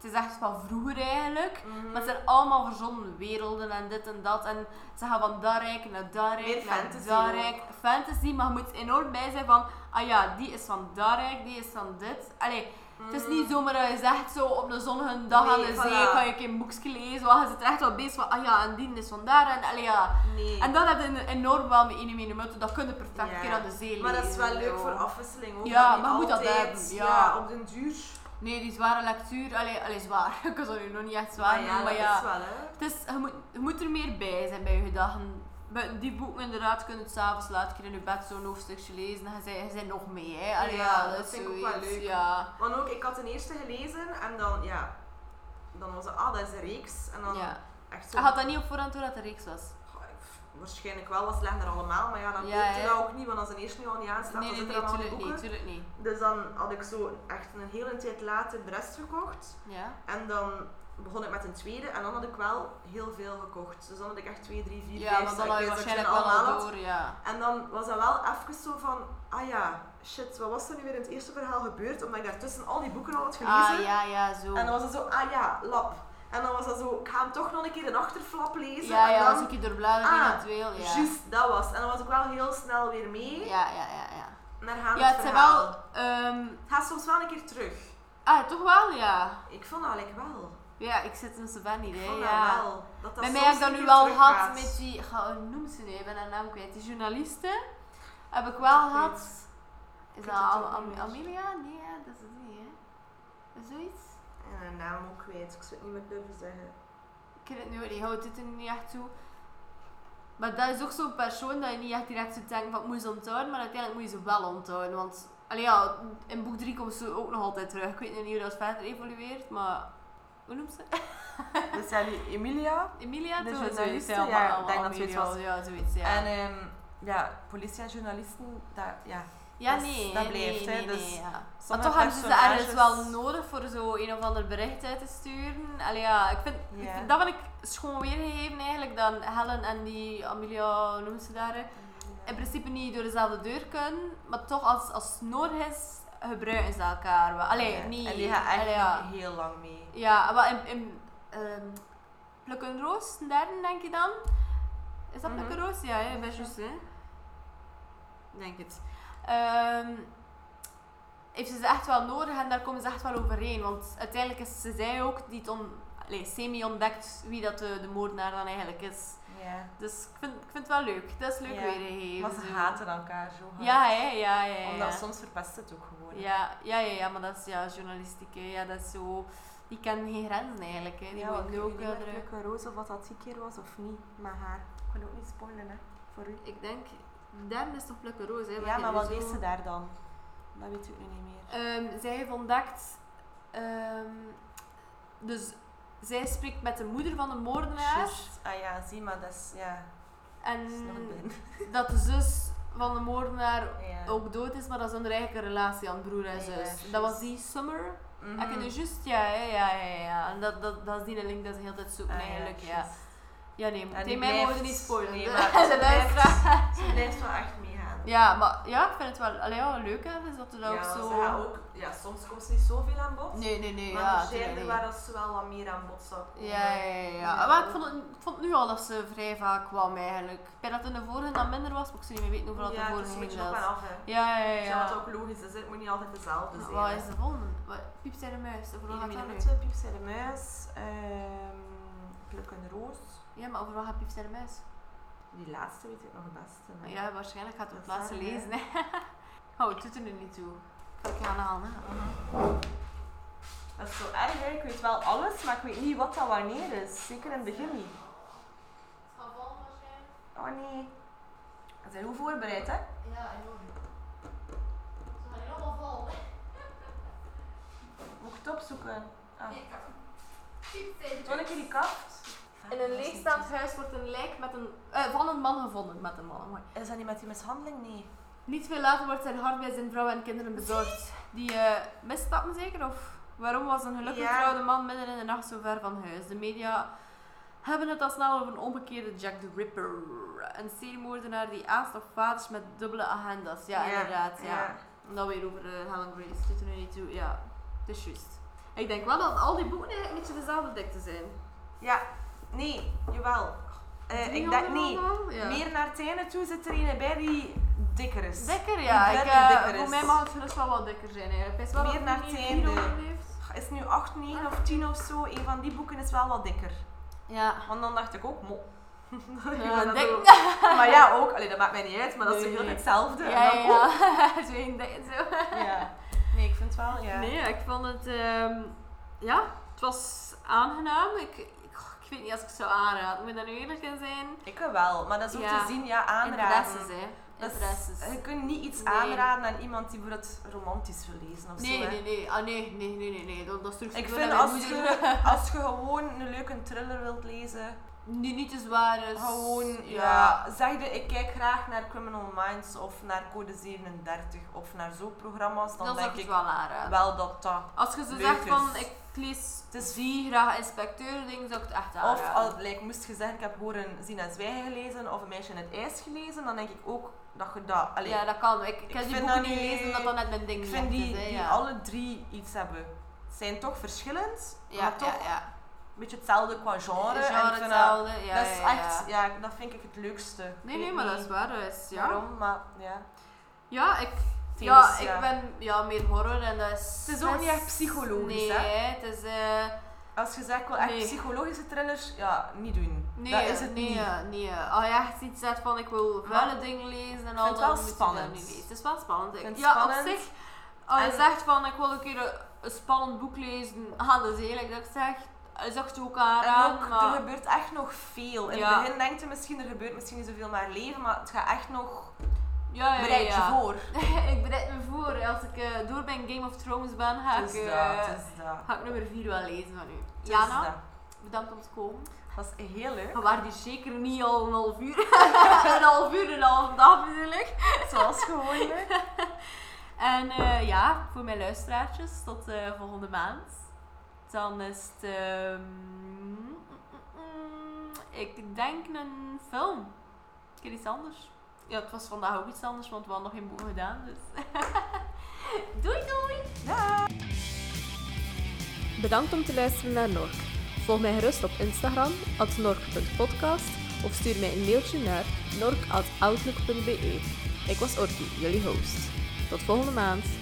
S1: Het is echt van vroeger eigenlijk.
S2: Mhm.
S1: Maar het zijn allemaal verzonnen werelden en dit en dat. En ze gaan van dat rijk naar dat rijk,
S2: Meer
S1: naar
S2: fantasy
S1: dat
S2: ook.
S1: rijk. Fantasy, maar je moet enorm bij zijn van... Ah ja, die is van dat rijk, die is van dit. Allee, het is niet zomaar dat je zegt zo op een zonnige dag aan
S2: Mm.
S1: de
S2: Nee, voilà.
S1: zee... Kan je een keer een boekje lezen, want je zit er echt wel bezig van... Ah ja, en die is van daar en... Allee, ja.
S2: Nee.
S1: En dat heb je enorm wel met één minuut. Dat kun je perfect
S2: Ja.
S1: een keer aan de zee lezen.
S2: maar dat is wel leuk
S1: zo.
S2: voor afwisseling ook.
S1: Ja,
S2: dat niet
S1: maar moet dat
S2: altijd-
S1: hebben, ja.
S2: op den duur.
S1: Nee, die zware lectuur... Allee, allee zwaar. Ik kan het nu nog niet echt zwaar
S2: ja,
S1: noemen,
S2: dat
S1: maar ja...
S2: is wel, hè.
S1: Het is, Dus je, moet, je moet er meer bij zijn bij je gedachten. Buiten Die boeken inderdaad kunnen het s'avonds laat een keer in je bed zo'n hoofdstukje lezen. En je zijn, je zijn nog mee, hè? Allee,
S2: Ja,
S1: ja,
S2: dat
S1: dat is
S2: vind ik ook wel
S1: zoiets,
S2: leuk.
S1: Ja.
S2: Want ook, ik had de eerste gelezen en dan, ja... Dan was het, ah, dat is een reeks. En dan
S1: ja.
S2: echt zo...
S1: Je had dat niet op voorhand door dat het een reeks was.
S2: Goh, pff, waarschijnlijk wel, want ze leggen er allemaal. Maar ja, dan
S1: Ja,
S2: weet je
S1: hè.
S2: dat ook niet, want als een eerste nu al niet aanstaat,
S1: nee,
S2: dan
S1: nee, nee,
S2: zitten er allemaal
S1: tuurlijk
S2: die
S1: niet,
S2: boeken.
S1: tuurlijk niet.
S2: Dus dan had ik zo echt een hele tijd later de rest gekocht.
S1: Ja.
S2: En dan begon ik met een tweede en dan had ik wel heel veel gekocht. Dus dan had ik echt twee, drie, vier,
S1: Ja,
S2: vijf,
S1: want dan had je
S2: zakjes dat ik
S1: waarschijnlijk
S2: toen
S1: wel al
S2: allemaal had.
S1: door, ja.
S2: En dan was dat wel even zo van, ah ja, shit, wat was er nu weer in het eerste verhaal gebeurd? Omdat ik daartussen al die boeken al had gelezen.
S1: Ah, ja, ja, zo.
S2: En dan was het zo, ah ja, lap. En dan was dat zo, ik ga hem toch nog een keer een achterflap lezen.
S1: ja,
S2: en
S1: ja,
S2: dan,
S1: als ik je doorbladeren
S2: Ah,
S1: eventueel, ja.
S2: Juist, dat was. En dan was ik wel heel snel weer mee
S1: Ja, ja, ja, ja.
S2: naar gaan
S1: Ja,
S2: het
S1: het zijn
S2: verhaal.
S1: wel... ehm,
S2: Het gaat soms wel een keer terug.
S1: ah, toch wel, ja.
S2: Ik vond dat eigenlijk wel.
S1: Ja, ik zit in zo'n van
S2: Ik
S1: idee,
S2: vond dat
S1: ja.
S2: Oh, nou wel. Dat dat
S1: Bij mij heb
S2: soms
S1: ik dat
S2: een
S1: nu
S2: keer
S1: wel
S2: teruggaat.
S1: gehad met die, ga, hoe noem ze nu, ik ben haar naam kwijt, die journalisten. Heb ik wel gehad. Is
S2: weet
S1: dat
S2: het
S1: Am-
S2: ook
S1: Am-
S2: niet.
S1: Amelia? Nee, hè, dat is het niet, hè? Is Zoiets?
S2: En haar naam ook kwijt, ik zou het niet meer durven zeggen.
S1: Ik weet het nu, die houdt het er niet echt toe. Maar dat is ook zo'n persoon dat je niet echt direct zou denken van ik moet ze onthouden, maar uiteindelijk moet je ze wel onthouden. Want allee, ja, in boek 3 komt ze ook nog altijd terug. Ik weet niet hoe dat verder evolueert, maar hoe noemt ze?
S2: Dat zijn die Emilia.
S1: Emilia?
S2: De
S1: toch? Zoiets,
S2: journaliste,
S1: maar-
S2: ja, ik denk dat
S1: Amelia,
S2: zoiets was.
S1: Ja, zoiets, ja.
S2: En ehm, ja, politie en journalisten, dat, ja.
S1: Ja,
S2: Dat is-
S1: nee.
S2: Dus dat
S1: hè,
S2: blijft,
S1: nee,
S2: hè,
S1: nee,
S2: dus
S1: nee, ja. Maar
S2: sommige
S1: toch hebben ze ze
S2: personages-
S1: ergens wel nodig voor zo een of ander bericht uit te sturen. Allee, ja, ik vind, ik
S2: Ja.
S1: vind- dat vind ik schoon weergegeven eigenlijk, dat Helen en die Amelia, hoe noemen ze daar, hè, in principe niet door dezelfde deur kunnen, maar toch als, als het nodig is, gebruiken ze elkaar wel. Allee,
S2: Ja.
S1: niet...
S2: En die gaat echt
S1: allee, ja.
S2: heel lang mee.
S1: Ja, maar in, in ehm, Pluk een Roos, een derde denk je dan? Is dat Pluk een
S2: Mhm.
S1: Roos? Ja, hè, bij Joes, hè? Denk het. Ehm, heeft ze ze echt wel nodig en daar komen ze echt wel overheen. Want uiteindelijk is ze zij ook die het on- allee, semi-ontdekt wie dat de, de moordenaar dan eigenlijk is.
S2: Ja.
S1: Dus ik vind, ik vind het wel leuk. Dat is leuk
S2: Ja.
S1: weergegeven.
S2: Maar ze
S1: zo.
S2: haten elkaar zo hard.
S1: Ja, hè, ja, ja, ja.
S2: Omdat soms verpest het ook gewoon.
S1: Ja, ja, ja, ja, maar dat is ja, journalistiek. hè. Ja, dat is zo... Die kennen geen grenzen eigenlijk. Hè. Die
S2: Ja,
S1: worden
S2: want
S1: nu
S2: ik
S1: ook
S2: weet
S1: eh,
S2: niet
S1: druk.
S2: meer welke roos of wat dat die keer was of niet. Maar haar. Ik kan ook niet spoilen, hè. Voor u.
S1: Ik denk, derde is toch Plukke Roos, hè?
S2: Ja, maar wat
S1: is
S2: deed ze daar dan? Dat weet ik nu niet meer.
S1: zij heeft ontdekt... ehm, dus zij spreekt met de moeder van de moordenaar.
S2: Juist. Ah ja, zie maar, dat is... Ja,
S1: En
S2: dat is nog binnen.
S1: dat de zus van de moordenaar
S2: Ja.
S1: ook dood is, maar dat is een rijke relatie aan broer en
S2: Ja,
S1: zus.
S2: juist.
S1: dat was die Summer.
S2: Mhm.
S1: Ik nu juist, ja, ja, ja, ja, ja. En dat, dat, dat is die link dat ze heel tijd zoeken
S2: Ah,
S1: eigenlijk, ja.
S2: juist.
S1: Ja, nee,
S2: En die
S1: tegen mij mogen
S2: blijft-
S1: niet spoilen.
S2: nee,
S1: De-
S2: maar
S1: de
S2: ze blijft-
S1: luisteraar.
S2: Ze blijft wel echt meegaan.
S1: Ja, maar ja, ik vind het wel allee, ja, leuk hè, dus dat er ook
S2: ze
S1: zo...
S2: gaat ook, ja, soms komt ze niet zoveel aan bod.
S3: Nee, nee, nee.
S2: maar
S3: ja,
S2: er zijn er
S3: tuurlijk.
S2: waar dat ze wel wat meer aan bod zou komen.
S3: Ja, ja, ja. ja.
S2: Ja.
S3: Maar ik vond, het, ik vond nu al dat ze vrij vaak kwam eigenlijk. Ik denk dat het in de vorige dan minder was, maar ik zou niet meer weten hoeveel dat
S2: Ja,
S3: de
S2: het is
S3: vorige
S2: een
S3: ging.
S2: beetje op en
S3: zelfs.
S2: af. Hè.
S1: Ja, ja, ja.
S2: Ja. wat ook logisch is, hè. het moet niet altijd dezelfde zijn.
S3: Wat
S2: hè.
S3: is de volgende? Wat- Piep zijn de muis, over wat
S2: Eén
S3: gaat dat nu?
S2: minuut, hè. Piep zei de muis, ehm, pluk een roos.
S3: Ja, maar over wat gaat Piep zijn de muis?
S2: Die laatste weet ik nog het beste. hè.
S3: Ja, waarschijnlijk gaat het op
S2: Dat
S3: laatste
S2: waren, hè.
S3: lezen. Hè. Oh, het doet er nu niet toe. Ik ga het gaan halen. hè.
S2: Dat is zo erg, hè. ik weet wel alles, maar ik weet niet wat dat wanneer is. Zeker in het begin niet. Oh nee. Ze zijn goed voorbereid, hè?
S1: Ja, enorm. Ze gaan hier allemaal vallen, hè.
S2: Moet ik het opzoeken? Ah.
S1: Piep zijn Ah,
S2: Toen ik hier die kaft.
S1: In een leegstaand huis wordt een lijk met een, eh, van een man gevonden. Met een man, mooi.
S2: Is dat niet met die mishandeling? Nee.
S1: Niet veel later wordt zijn hart bij zijn vrouw en kinderen bezorgd. Die eh, misstappen zeker? Of waarom was een gelukkig
S2: Ja.
S1: getrouwde man midden in de nacht zo ver van huis? De media hebben het al snel over een omgekeerde Jack the Ripper. Een seriemoordenaar die aanstof vaders met dubbele agendas. Ja, inderdaad. Ja. En dan weer over eh, Helen Grace. Het doet er nu niet toe. Ja, het is juist. Ik denk wel dat al die boeken eigenlijk een beetje dezelfde dikte zijn.
S2: Ja. Nee, jawel. Eh ik denk niet.
S1: niet.
S2: Meer naar het einde toe zit er een bij die dikker is.
S1: Dikker, ja.
S2: Ik
S1: Ik,
S2: denk
S1: eh,
S2: dikker
S1: voor
S2: is.
S1: mij mag het gerust wel wat dikker zijn. Eigenlijk. Het is wel
S2: Meer eh.
S1: dat het
S2: naar
S1: niet
S2: het
S1: vier
S2: einde.
S1: overleeft.
S2: Is nu 8, 9 of 10 of zo. Een van die boeken is wel wat dikker.
S3: Ja.
S2: Want dan dacht ik ook, mo. Ik
S1: Ja,
S2: ben dat
S1: dik.
S2: ook- Maar ja, ook. Allee, dat maakt mij niet uit, maar dat is
S1: Nee.
S2: heel hetzelfde. En
S1: Ja,
S2: dan
S1: ja,
S2: ook.
S1: ja. Zo één dik en zo.
S2: Ja. Nee, ik vind het wel, ja.
S1: Nee, ik vond het... ehm, ja, het was aangenaam. Ik, ik, oh, ik weet niet als ik het zou aanraden. Moet ik daar nu eerlijk in zijn?
S2: Ik wel, maar dat is ook
S1: Ja.
S2: te zien, ja, aanraden.
S3: Interesses, hè.
S2: Dat is-
S3: Interesses.
S2: Je kunt niet iets
S3: Nee.
S2: aanraden aan iemand die voor het romantisch wil lezen of zo.
S3: Nee,
S2: hè.
S3: nee, nee. Ah, nee, nee, nee, nee. nee. Dat, dat is terug
S2: Ik
S3: door
S2: vind
S3: naar mijn
S2: als
S3: moeder.
S2: je, als je gewoon een leuke thriller wilt lezen,
S3: Nu niet te zwaar
S1: Dus,
S3: is.
S2: gewoon, ja. zeg je, ik kijk graag naar Criminal Minds of naar Code 37 of naar zo'n programma's,
S3: Dan
S2: dan
S3: zou
S2: denk
S3: ik het
S2: ik
S3: wel aanraden.
S2: wel dat dat...
S1: Als je zo
S2: Leuk
S1: zegt van,
S2: is.
S1: ik lees
S2: Het is
S1: zie graag inspecteur dingen, zou ik het echt aanraden.
S2: Of, al, like, moest je zeggen, ik heb horen Zina Zwijgen gelezen of Een meisje in het ijs gelezen, dan denk ik ook dat je dat... Allee,
S1: ja, dat kan. Ik, ik, heb
S2: vind
S1: die boeken
S2: dat
S1: niet
S2: nu-
S1: gelezen omdat dat net mijn ding
S2: ik
S1: niet
S2: vind die,
S1: is. hè,
S2: die
S1: ja.
S2: alle drie iets hebben. Het zijn toch verschillend,
S3: Ja,
S2: maar
S3: ja,
S2: toch
S3: ja.
S2: een beetje hetzelfde qua genre. en ik
S3: Genre
S2: vind dat-
S3: hetzelfde. Ja,
S2: dat is
S3: ja, ja.
S2: echt, ja, dat vind ik het leukste. Ik
S1: Nee,
S2: weet
S1: nee, maar dat
S2: niet
S1: is waar. Dat is, ja.
S2: Waarom, maar ja.
S1: Ja, ik,
S2: is,
S1: ja,
S2: ja.
S1: ik ben ja, meer horror en dat is...
S2: Het is ook niet echt psychologisch,
S1: nee,
S2: hè?
S1: het is... eh,
S2: Als je zegt, wel echt
S1: Nee.
S2: psychologische thrillers, ja, niet doen.
S1: nee,
S2: dat is het
S1: nee,
S2: niet.
S1: eh, nee. eh. Als je echt iets zegt van ik wil
S2: Maar
S1: vuile dingen lezen en
S2: ik
S1: al,
S2: vind het
S1: dan
S2: wel
S1: moet je dat
S2: spannend.
S1: niet lezen. Het is wel spannend.
S2: vind het
S1: ja, op
S2: spannend.
S1: zich, als je
S2: En-
S1: zegt van ik wil een keer een, een spannend boek lezen, ah, dat is eerlijk dat ik zeg, is dat ook aanraden,
S2: En ook,
S1: maar...
S2: er gebeurt echt nog veel. In
S1: Ja.
S2: het begin denkt je misschien, er gebeurt misschien niet zoveel maar leven, maar het gaat echt nog...
S1: ja, ja, ja,
S2: Bereid je
S1: ja.
S2: voor.
S1: ik bereid me voor. Als ik eh, door bij Game of Thrones ben, ga
S2: Het is
S1: ik, eh,
S2: dat, het is dat.
S1: ga ik nummer 4 wel lezen van u.
S2: Het is
S1: Jana,
S2: dat.
S1: bedankt om te komen.
S2: Dat is heel leuk.
S1: We waren hier zeker niet al een half uur. een half uur, een half dag natuurlijk.
S2: Zoals gewoonlijk.
S1: En eh, ja, voor mijn luisteraartjes, tot eh, volgende maand. Dan is het... ehm, mm, mm, mm, ik denk een film. Een keer iets anders. Ja, het was vandaag ook iets anders, want we hadden nog geen boeken gedaan. Dus. doei doei!
S4: Bedankt om te luisteren naar Nork. Volg mij gerust op Instagram, at nork.podcast, of stuur mij een mailtje naar nork.outlook.be. Ik was Orki, jullie host. Tot volgende maand.